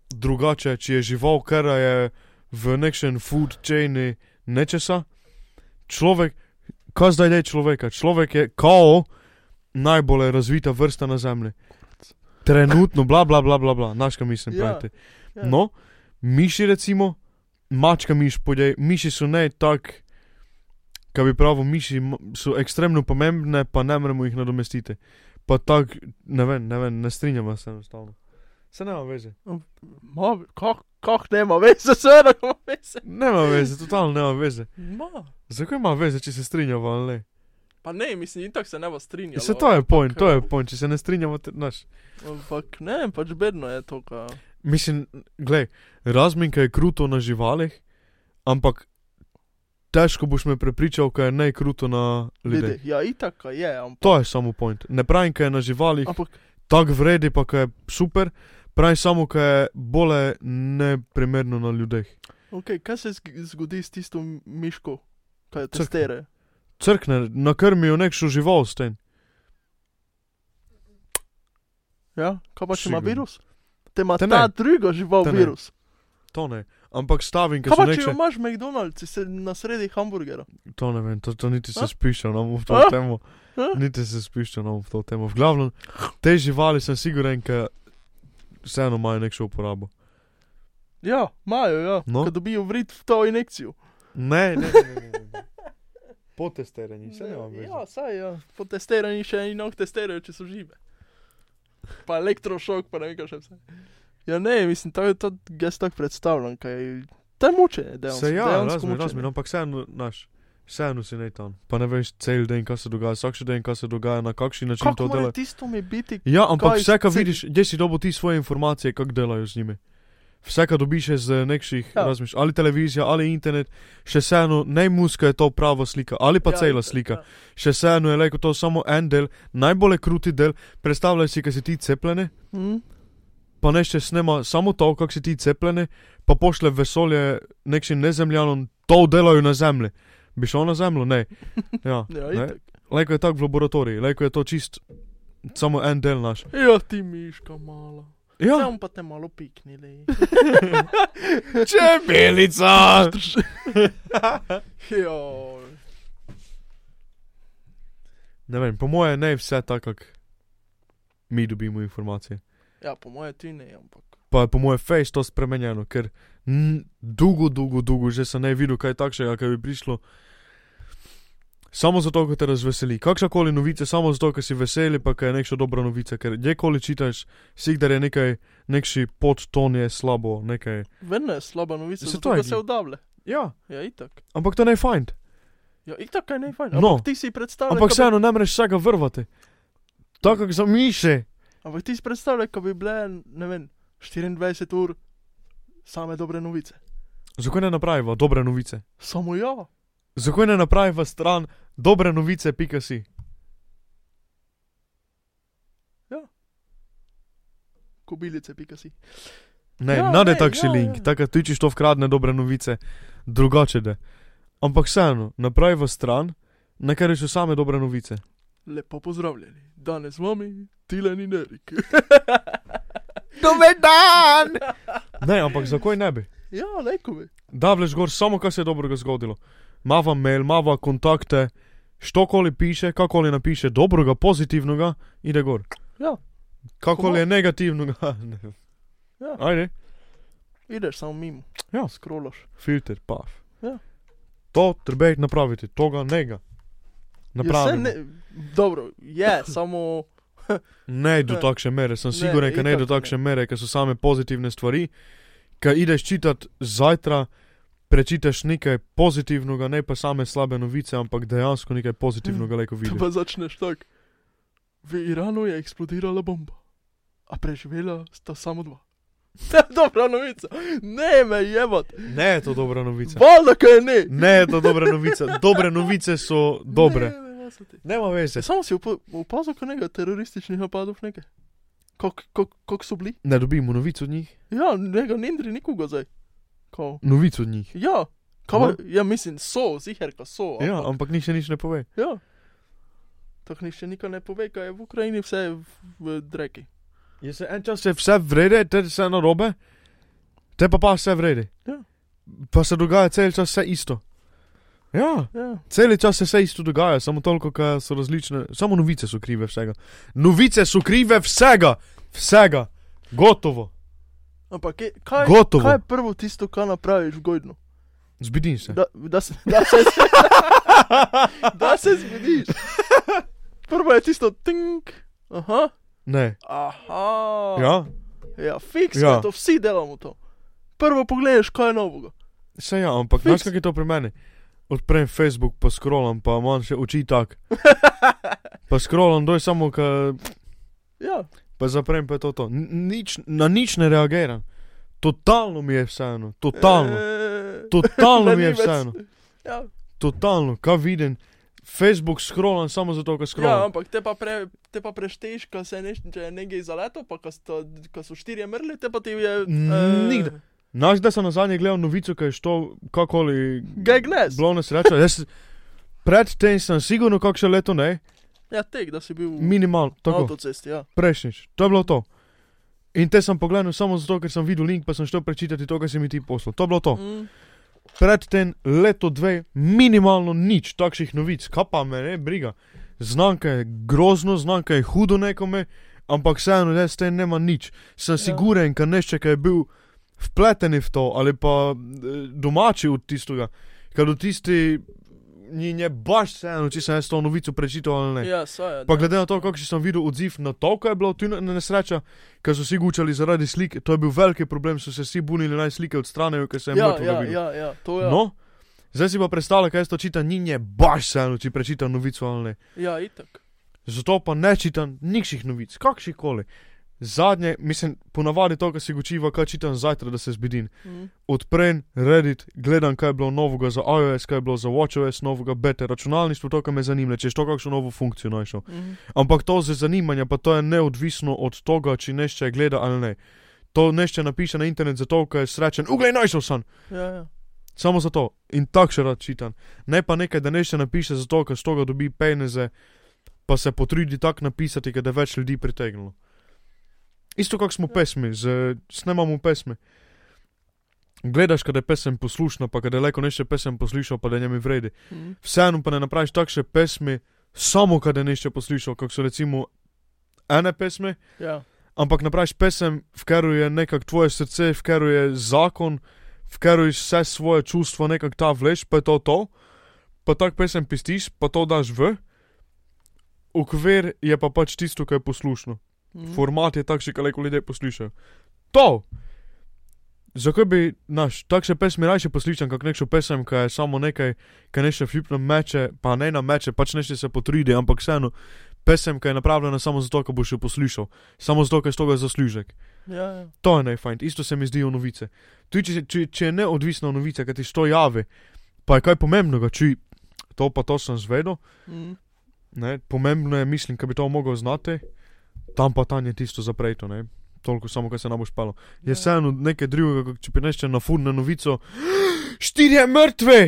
B: drugače, če je žival, ker je v nekem food chainu nečesa. Človek, kaj zdaj je človeka? Človek je kao najbolj razvita vrsta na zemlji. Trenutno, bla bla bla bla, bla. znaš kaj mislim,
A: Ja,
B: pravite.
A: ja.
B: No, miši recimo, mačka miš podje, miši so ne tak, kaj bi pravil, miši m- so ekstremno pomembne, pa ne moremo jih nadomestiti. Pa tak, ne vem, ne, vem, ne strinjamo se enostavno. Se nema veze.
A: Ma, kak, kak nema veze, seveda ima veze.
B: Nema veze, totalno nema veze.
A: Ma,
B: Zakaj ima veze, če se strinjamo ali ne?
A: pa ne, mislim, itak se ne bo strinjal.
B: Se to je point,
A: eh,
B: to je point, če se ne strinjamo, te, naš.
A: Ampak ne, pač bedno je to, ka.
B: Mislim, glej, razminka je kruto na živalih, ampak težko boš me prepričal, kaj je najkruto na
A: Ljudje.
B: ljudeh.
A: Ja, itak ka je, ampak.
B: To je samo point. Ne pravim, kaj je na živalih
A: Ampak,
B: tako vredi, pa kaj je super, pravim samo, kaj je bolje neprimerno na ljudeh.
A: okay, kaj se zg- zgodi s tisto miško, kaj je
B: Crkne.
A: testere?
B: Crkne, nakrmijo nekšo žival s tem.
A: Ja, kaj pa če ima
B: Sigurno.
A: virus? Te ima
B: Te ne.
A: ta druga žival
B: Te ne.
A: virus.
B: To ne. Ampak stavim, ker
A: Kaj
B: so
A: pa če
B: nekše...
A: imaš McDonald's se na sredi hamburgera?
B: To ne vem, to, to niti se
A: A?
B: spišem nam v to
A: A?
B: temo.
A: A?
B: Niti se spišem nam v to temo. V glavnem, te živali sem siguren, ker vseeno imajo nekšo uporabo.
A: Ja, imajo, ja.
B: No.
A: No. Ko dobijo vrit v to injekcijo.
B: Ne, ne, ne. ne, ne, ne. Po testiranju, se ne vam veš.
A: ja, saj ja. Po testiranju še eno testirajo, če so žive. Pa elektrošok, pa ne vem, kaj še vse. Ja, ne, mislim, to je to, jaz tako predstavljam, kaj je. To je mučenje, dejansko.
B: Se ja,
A: dejansko
B: razumem,
A: mučenje.
B: razumem, ampak vseeno, naš, vseeno si ne tam. Pa ne veš cel dan, kaj se dogaja, vsak dan, kaj se dogaja, na kakšen način
A: Kako
B: to
A: mora
B: dela.
A: tisto mi biti?
B: Ja, ampak
A: kaj
B: vse, kar
A: se-
B: vidiš, kje si dobil ti svoje informacije, kako delajo z njimi. Vse, kar dobiš iz eh, nekših, ja.
A: Ja.
B: razmišljaš, ali televizija, ali internet, še vseeno, ne muska je to prava slika, ali pa ja, cela
A: itak,
B: slika.
A: Ja.
B: Še vseeno je rekel, to je samo en del, najbolj kruti del. Predstavljaj si, kaj si ti cepljene,
A: Mm,
B: pa ne še snema samo to, kako si ti cepljene, pa pošle v vesolje nekim nezemljanom, to delajo na zemlji. Bi šel na zemljo? Ne. Ja,
A: ja,
B: ne.
A: itak.
B: Lejko je tako v laboratoriju, lejko je to čist, samo en del naš.
A: ja, ti miška mala.
B: Ja,
A: Tam pa te malo piknili.
C: Čebelica.
A: Joj.
B: ne vem, po moje ne vse tako, kako mi dobimo informacije.
A: Ja, po mojem ti ne, ampak.
B: Pa je po moje face to spremenjeno, ker n, dolgo, dolgo, dolgo že sem ne videl kaj takšnega, kaj bi prišlo. Samo zato, ker te razveseli. Kakšnakoli novica, samo zato, ker si veseli, pa ker je neka dobra novica. Ker kjerkoli čitaš, sigdar je nekaj, nekši podton je slabo, nekaj.
A: Vedno je slaba novica,
B: Se
A: zato
B: to je
A: da se
B: glih.
A: odavle.
B: Ja,
A: Ja, itak.
B: ampak to ne je fajn.
A: Ja, itak kaj ne fajn.
B: No.
A: Ampak ti si predstavljal,
B: Ampak
A: ka bi,
B: vseeno ne moreš vsega vrvati. Tako kot za miše.
A: ampak ti si predstavljal, ko bi bile, ne vem, 24 ur same dobre novice.
B: Zakaj ne napraviva dobre novice?
A: Samo ja.
B: Zakaj ne napraviva stran dobre novice, pika si.
A: Kobilice, pika si.
B: Ne, ja,
A: Ja,
B: nade
A: ne,
B: takšni
A: ja,
B: ja, link,
A: ja.
B: ja. tako ti čiš to vkradne dobre novice, drugače da. Ampak vseeno, napravi v stran na kar so same dobre novice.
A: Lepo pozdravljeni. Danes z vami Tilen in Erik.
C: Dober dan!
B: Ne, ampak zakaj ne bi?
A: ja, lekovi.
B: Da, vleš gor samo, kar se je dobrega zgodilo. Mava mail, mava kontakte, štokoli piše, kakoli napiše dobrega, pozitivnega, ide gor.
A: Ja.
B: Kakoli je negativnega, ne.
A: Ja.
B: Ajde,
A: Ideš samo mimo.
B: Ja.
A: Skrolaš.
B: filter, paf.
A: Ja.
B: To treba je napraviti, toga nega. Napravim. Ne...
A: Ja, Ne, dobro, je, samo
B: ne do takšne mere, sem
A: Ne,
B: siguren, da ne do
A: itak ne.
B: takšne mere, ker so same pozitivne stvari. Kaj ideš čitati zajtra, prečitaš nekaj pozitivnega, ne pa same slabe novice, ampak dejansko nekaj pozitivnega, leko
A: to
B: vidiš.
A: pa začneš tak. V Iranu je eksplodirala bomba, a preživela sta samo dva. Dobra novica. Ne me jebat.
B: Ne je to dobra novica.
A: Valjda, kaj ne.
B: Ne je to dobra novica. Dobre novice so dobre.
A: Ne, ne, ne, se ti.
B: Nema veze.
A: Ja, Samo si opa- opazil, kaj nekaj terorističnih napadov nekaj. Kako kak, kak so bili?
B: Ne dobimo novic od njih.
A: Ja, nekaj nindri nikoga zdaj. Ko?
B: Novic od njih.
A: Ja, kava,
B: No.
A: ja mislim, so, ziherka so.
B: Ja, ampak nihče nič ne pove.
A: Ja. Tako nišče nikoli ne pove, kaj je v Ukrajini vse v, v dreki.
B: Je se en čas je vse vrede, te se na robe, te pa pa vse vrede.
A: Ja.
B: Pa se dogaja cel čas vse isto. Ja,
A: Ja.
B: cel čas se vse isto dogaja, samo toliko, ker so različne, samo novice so krive vsega. Novice so krive vsega, vsega, gotovo.
A: Ampak je, kaj,
B: Gotovo.
A: kaj je prvo tisto, kar napraviš v Gojdnu?
B: Zbudi se.
A: Da, da, se- da, se, da se zbudiš. Prvo je tisto tink. Aha.
B: Ne.
A: Aha.
B: Ja,
A: ja fiks,
B: Ja.
A: ja. to vsi delamo to. Prvo pogledaš, kaj je novega.
B: se ja, ampak
A: Fiks.
B: znaš, kaj je to pri meni? Odprem Facebook, pa scrollam, pa imam še oči tak. Pa scrollam, doj samo, ker
A: Ja,
B: pa zaprem pa je to. to. N- Nič, na nič ne reagiram. Totalno mi je vseeno, totalno.
A: E,
B: Totalno
A: na
B: mi je
A: ni več-
B: vseeno,
A: Ja,
B: totalno, kaj vidim. Facebook scrollam samo zato, ker
A: ja,
B: scrollam.
A: ampak te pa, pre, te pa prešteješ, ko se neš, če je nekaj zaleto, pa ko, sto, ko so štirje mrli, te pa ti je. eh,
B: Nikdar. Znaš, da sem na zadnje gledal novico, kaj je šlo, kakoli.
A: Ga gnes.
B: Bilo nesreča. Jaz predtem sem sigurno, kakšno leto ne,
A: Ja, tek, da si bil v
B: minimalno, tako.
A: avtocesti. Ja.
B: prejšnjič, to je bilo to. In te sem pogledal samo zato, ker sem videl link, pa sem šel prečitati to, kar si mi ti poslal. To je bilo to.
A: Mm.
B: Predtem leto dve, minimalno nič takšnih novic, kaj pa me ne briga. Znamka je grozno, znamka je hudo nekome, ampak vseeno jaz s tem nema nič. Sem
A: Ja.
B: siguren, ker nešče, ki je bil vpleten v to ali pa eh, domači od tistega, ker od tisti ni nje baš vseeno, če sem jaz to novico prečital ali ne.
A: Ja, saj.
B: Pa glede na to, kakšen sem videl odziv na to, kaj je bilo tu nesreča, ker so vsi gučali zaradi slike, to je bil veliki problem, so se vsi bunili naj slike odstranijo, ker se
A: ja,
B: je mrtvo
A: ja,
B: videl.
A: ja, ja, to je.
B: No, zdaj si pa predstavlja, kaj to čita, ni nje baš vseeno, če prečita novico ali ne.
A: Ja, itak.
B: Zato pa ne čitam nikših novic, kakšnih koli. Zadnje, mislim, ponavadi to, kar si gučiva, kaj čitam zajtra, da se zbedim.
A: Mm.
B: Odprem Reddit, gledam, kaj je bilo novega za iOS, kaj je bilo za WatchOS, novega beta računalništva, to, kar me zanima, če je to kakšno novo funkcijo našel.
A: Mm.
B: Ampak to za zanimanje, pa to je neodvisno od tega, če nešče gleda ali ne. To nešče napiše na internet zato, ker je srečen, uglej, našel sem,
A: Ja, ja.
B: samo zato in tak še rad čitam. Ne pa nekaj, da nešče napiše zato, ker s toga dobi peneze, pa se potrudi tako napisati, ker da je več ljudi pritegnilo. Isto kot smo pesmi, z, snemamo pesmi. Gledaš, kada je pesem poslušna, pa kada je leko nešče pesem poslušal, pa da njemi vredi
A: Mm.
B: vseeno pa ne napraviš takšne pesmi, samo kad je nešče poslušal, kako so recimo ene pesmi,
A: ja.
B: ampak napraviš pesem, v kateri je nekako tvoje srce, v kateri je zakon, v kateri vse svoje čustvo nekako ta vleš, pa je to to, pa tak pesem pistiš, pa to daš v. Ukvir je pa pač tisto, kar je poslušno.
A: Mm.
B: Format je takšen, kaj ljudje poslušajo. To! Zakaj bi naš, takšne pesmi raje poslušam, kot nekšo pesem, ki je samo nekaj, ki nešče flipno meče, pa ne na meče, pač nešče se potrudi, ampak vseeno, pesem, ki je napravljena samo zato, da boš jo poslušal, samo zato, ker je stoga zaslužek.
A: Ja, ja.
B: To je najfajn, isto se mi zdijo novice. Tudi če, če, če je neodvisna novica, ki ti to javi, pa je kaj pomembnega, če to pa to sem zvedel,
A: Mm.
B: Ne, pomembno je, mislim, da bi to mogel znati, tam pa tam je tisto zapreto, ne. Toliko samo, kar se nam bo špalo. Je vseeno nekaj drugega, kot če prinešče na furne novico. Štirje mrtve!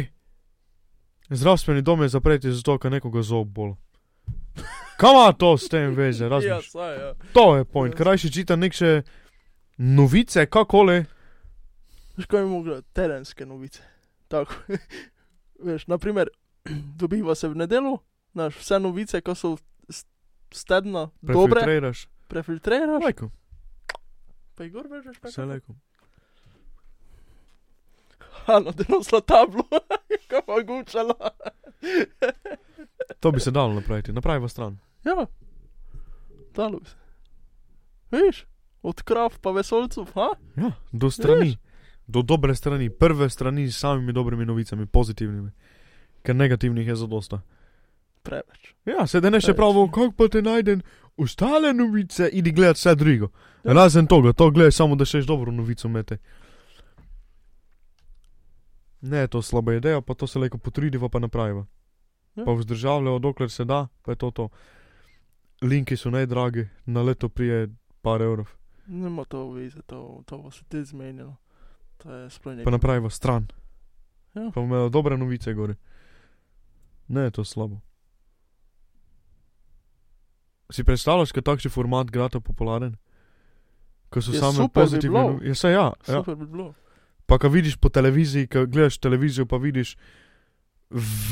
B: Zdravstveni dom je zapreti zato, ker nekoga zob bol. Kaj ima to s tem veze,
A: Ja,
B: razumeš?
A: saj, ja.
B: To je point, ker rajši čita neke novice, kakole.
A: Veš, kaj bi mogla, terenske novice. Tako. Veš, naprimer, dobiva se v nedelu, znaš, vse novice, ko so s- stedna, dobre,
B: Prefiltriraš.
A: prefiltriraš,
B: Lajko,
A: pa jih gor vežeš, pa
B: vse lajko.
A: Ano, denosla tablo, kaj pa gučala.
B: To bi se dalo napraviti, napravi v stran.
A: Ja, dalo bi se. Veš, od krav pa vesolcev, ha?
B: Ja, do strani. Do dobre strani, prve strani s samimi dobrimi novicami, pozitivnimi. Ker negativnih je zadosta.
A: Preveč.
B: Ja, sedaj ne še
A: Preveč.
B: pravo, kako pa te najdem ostale novice, idi gledat vse drugo. Razen tega, to gledaj samo, da še ješ dobro novico mete. Ne, to je slaba ideja, pa to se lahko potrudiva, pa napraviva.
A: Ja.
B: Pa vzdržavljajo, dokler se da, pa je to to. Linki so najdragi, na leto prije par evrov,
A: Nima to vize, to, to bo se ti zmenilo. To je sploh
B: pa
A: nekaj.
B: napraviva stran.
A: Ja.
B: Pa imajo dobre novice gori. Ne, to je slabo. Si predstavljaš, kaj takšen format grata popularen? Ko so
A: Je
B: same
A: Ja, super bi
B: pozitivne
A: bilo.
B: novice. Ja, saj ja, ja.
A: Super bi bilo.
B: Pa ko vidiš po televiziji, ko gledaš televizijo, pa vidiš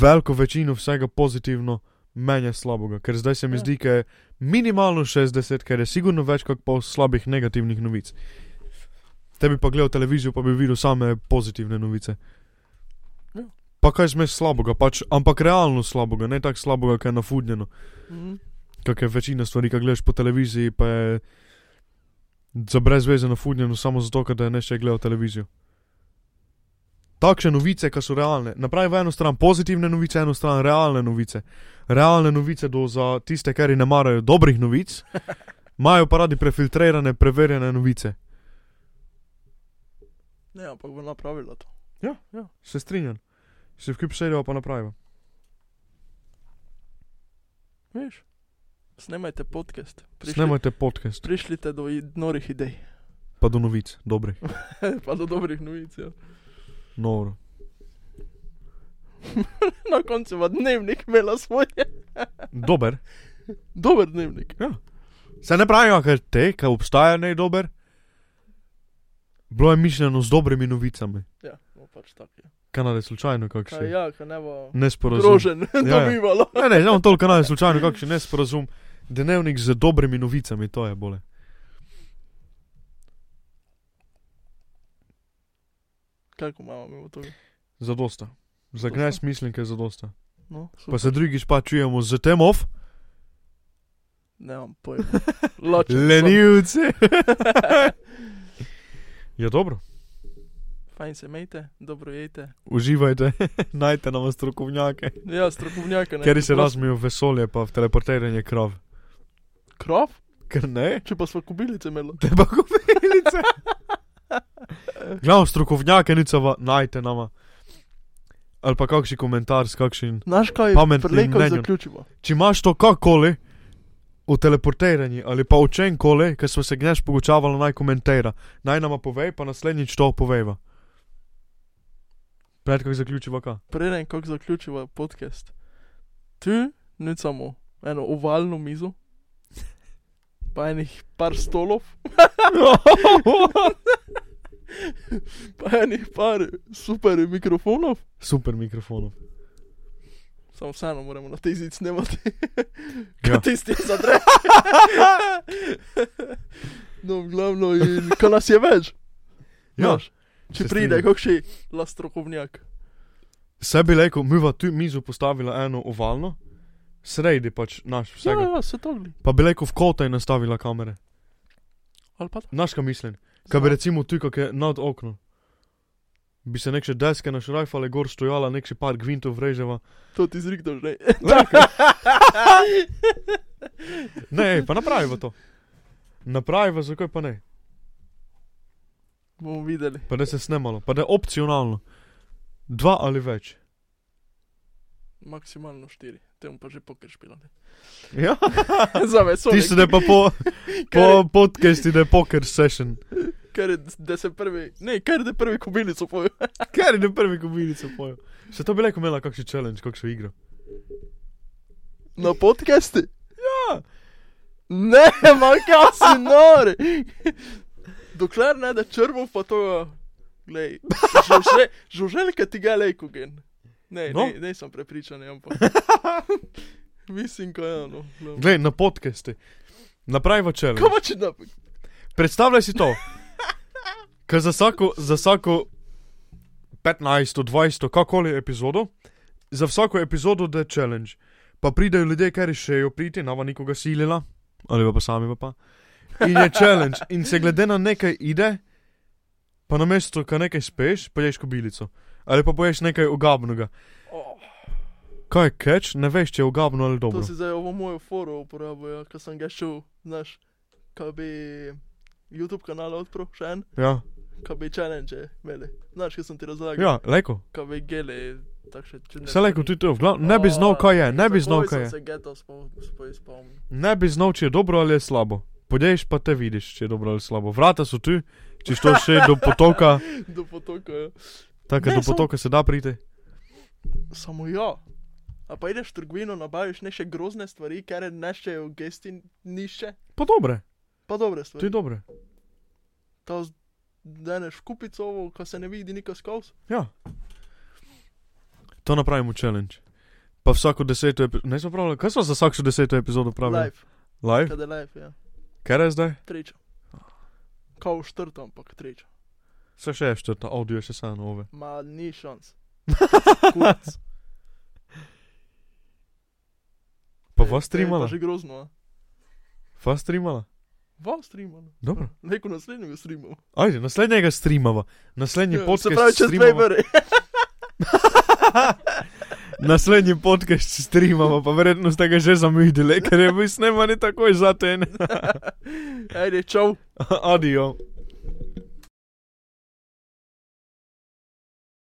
B: veliko večino vsega pozitivno, meni je slabega. Ker zdaj se mi
A: Ja.
B: zdi, da je minimalno 60, ker je sigurno več kot pol slabih negativnih novic. Tebi pa gledal televizijo, pa bi videl same pozitivne novice.
A: Ja.
B: Pa kaj smeš slabega, pač, ampak realno slabega, ne tako slabega, ki je nafudnjeno.
A: Mhm.
B: Kak je večina stvari, ki gledaš po televiziji, pa je za brezveze nafudnjeno samo zato, ker da je nešče gledal televizijo. Takšne novice, ki so realne. Napravi v eno stran pozitivne novice, eno stran realne novice. Realne novice do za tiste, ki ne marajo dobrih novic, imajo pa radi prefiltrirane, preverjene novice.
A: Ne, ampak bo napravila to.
B: Se strinjam, se v kip sedeva pa napraviva.
A: Veš, snemajte podcast. Prišli,
B: Snemajte podcast,
A: prišlite do i- norih idej,
B: pa do novic, dobrih. No,
A: pa do dobrih novic. Ja.
B: Noro.
A: Na koncu ima dnevnik, imela svoje.
B: Dober.
A: Dober dnevnik.
B: Se ne pravijo, ker te, ki obstaja, ne je dober. Bilo je mišljeno z dobrimi novicami,
A: Ja, no pač tako je.
B: kanal je slučajno kakšen.
A: Kaj
B: Ja.
A: ja, kaj ne bo.
B: Nesporazum.
A: Grožen,
B: Ja, ja.
A: dobivalo.
B: Ne, ne, imam toliko kanal je slučajno kakšen nesporazum. Dnevnik z dobrimi novicami, to je bole.
A: Kako imamo mi to?
B: Zadosta. Za
A: Zadosta.
B: gnes mislim, ker je zadosta.
A: No,
B: Pa se drugič pa čujemo z tem off.
A: ne imam pojma. Ločen. sem.
B: Lenivci. ja, dobro.
A: Fajn se mejte, dobro jejte.
B: Uživajte, najdite nam strokovnjake.
A: Ja, strokovnjake. ne.
B: Ker se
A: Prosim.
B: razmijo vesolje, pa v teleportiranje krav.
A: Krov?
B: Ker ne?
A: Če pa smo kubilice imeli.
B: Te pa kupilice. Glavno strokovnjake nicava, Ja, najte nama. Ali pa kakšen komentar s kakšnim.
A: Znaš kaj,
B: Pametnim
A: preleko
B: mnenjem.
A: zaključimo.
B: Če imaš to kakoli o teleportiranju ali pa o čem koli, ker smo se gneš pogočavali, naj komentira. Naj nama povej, pa naslednjič to poveva. Predkaj zaključiva ka.
A: preden kako zaključiva podcast, tu ne samo eno ovalno mizo, pa enih par stolov, pa enih par super mikrofonov,
B: Super mikrofonov.
A: samo vseeno moramo na tej zid snemati,
B: Ja.
A: kot tisti zadre. No, glavno in ko nas je več.
B: Ja,
A: Znaš,
B: se
A: če
B: strinjam.
A: pride, kakšen lastrokovnjak.
B: Sebi leko, mi v tu mizo postavila eno ovalno, sredi pač naš
A: Ja,
B: vsega.
A: ja, se togli.
B: Pa bi leko v kota in nastavila kamere.
A: Ali pa to.
B: Znaš, kaj mislim? Kaj bi recimo tu, kako je nad oknom. Bi se nekše deske našrajfale, gor stojala, nekše par gvintov vreževa.
A: To ti zrikdo že.
B: Ne, ej, pa napraviva to. Napraviva, zakaj pa ne?
A: Bomo videli.
B: Pa da se snemalo, pa da je opcionalno. Dva ali več.
A: Maksimalno štiri. Temu pa že poker špilali.
B: Ja,
A: Za vesolje.
B: tisto da je pa po,
A: Ker-
B: po podkesti, da je poker session.
A: Ker je, da se prvi, ne, ker je da prvi kobilico poje.
B: Ker je na prvi kobilico pojo. Še to bi lahko imela kakšen challenge, kakšno igro.
A: Na podcasti?
B: Ja.
A: Ne, manj kaj si nori. Dokler ne da črvov, pa to, glej, žuže- žuželka ti ga lejko gen. Ne,
B: No.
A: no? ne, ne sem prepričan, ampak. Mislim, ko je ono. glavno.
B: Glej, na podkeste. Napravi
A: Kaj
B: challenge.
A: pa če da?
B: Predstavljaj si to. Ker za vsako, za vsako 15, 20, kakoli epizodo, za vsako epizodo da je challenge. Pa pridejo ljudje, ki rešejo priti, nava nikoga silila, ali pa sami pa. pa. In je challenge, in se glede na nekaj ide, pa na mesto, ka nekaj speš, poješ kobilico. Ali pa poješ nekaj ogabnega.
A: Oh,
B: Kaj je catch, ne veš, če je ogabno ali dobro.
A: to si zdaj ovo mojo foro uporabil, ja, ker sem ga šel, znaš, kaj bi YouTube kanal odprl, še en,
B: Ja,
A: kaj bi challenge imeli. Znaš, kaj sem ti razlagal?
B: ja leko.
A: Kaj bi geli, takšne čudne.
B: Vse leko tudi to, v glav- ne bi znal, kaj je, ne bi znal, kaj je.
A: Se geto spomnim.
B: Ne bi znal, če je dobro ali je slabo. Podejš pa te vidiš, če je dobro ali slabo. Vrata so tu, če to še do potoka,
A: Do potoka. ja.
B: tako
A: Ne,
B: da do
A: samo-
B: potoka se da priti.
A: Samo ja. A pa ideš v trgovino, nabaviš ne še grozne stvari, ker ne še v gesti nišče.
B: Pa dobre,
A: Pa dobre
B: to je
A: stvari.
B: dobre.
A: To daneš v kupico, ovo, ko se ne vidi nikakor skozi.
B: Ja. To napravimo challenge. Pa vsako deseto epizodo, ne smo pravili, kaj smo za vsako deseto epizodo pravili?
A: Live,
B: Live.
A: kada live, ja.
B: Kaj je zdaj?
A: Treča. Kao štrta, ampak treča.
B: Se še je štrta, audio je še samo nove.
A: Ma ni šans. Kurac.
B: Pa
A: Ej, ej,
B: vas
A: pa
B: streamala?
A: Že grozno, a.
B: Vas streamala?
A: Vas streamala.
B: Dobro.
A: no. Neko naslednjega streamala.
B: Ajde, naslednjega streamava. Naslednji
A: Ja,
B: podcast
A: Se pravi, čez dve
B: streamava.
A: vere.
B: Naslednji podcast streamava, pa verjetno ste ga že zamudili, ker je bil sneman takoj za ten.
A: Ajde, čau.
B: Adijo.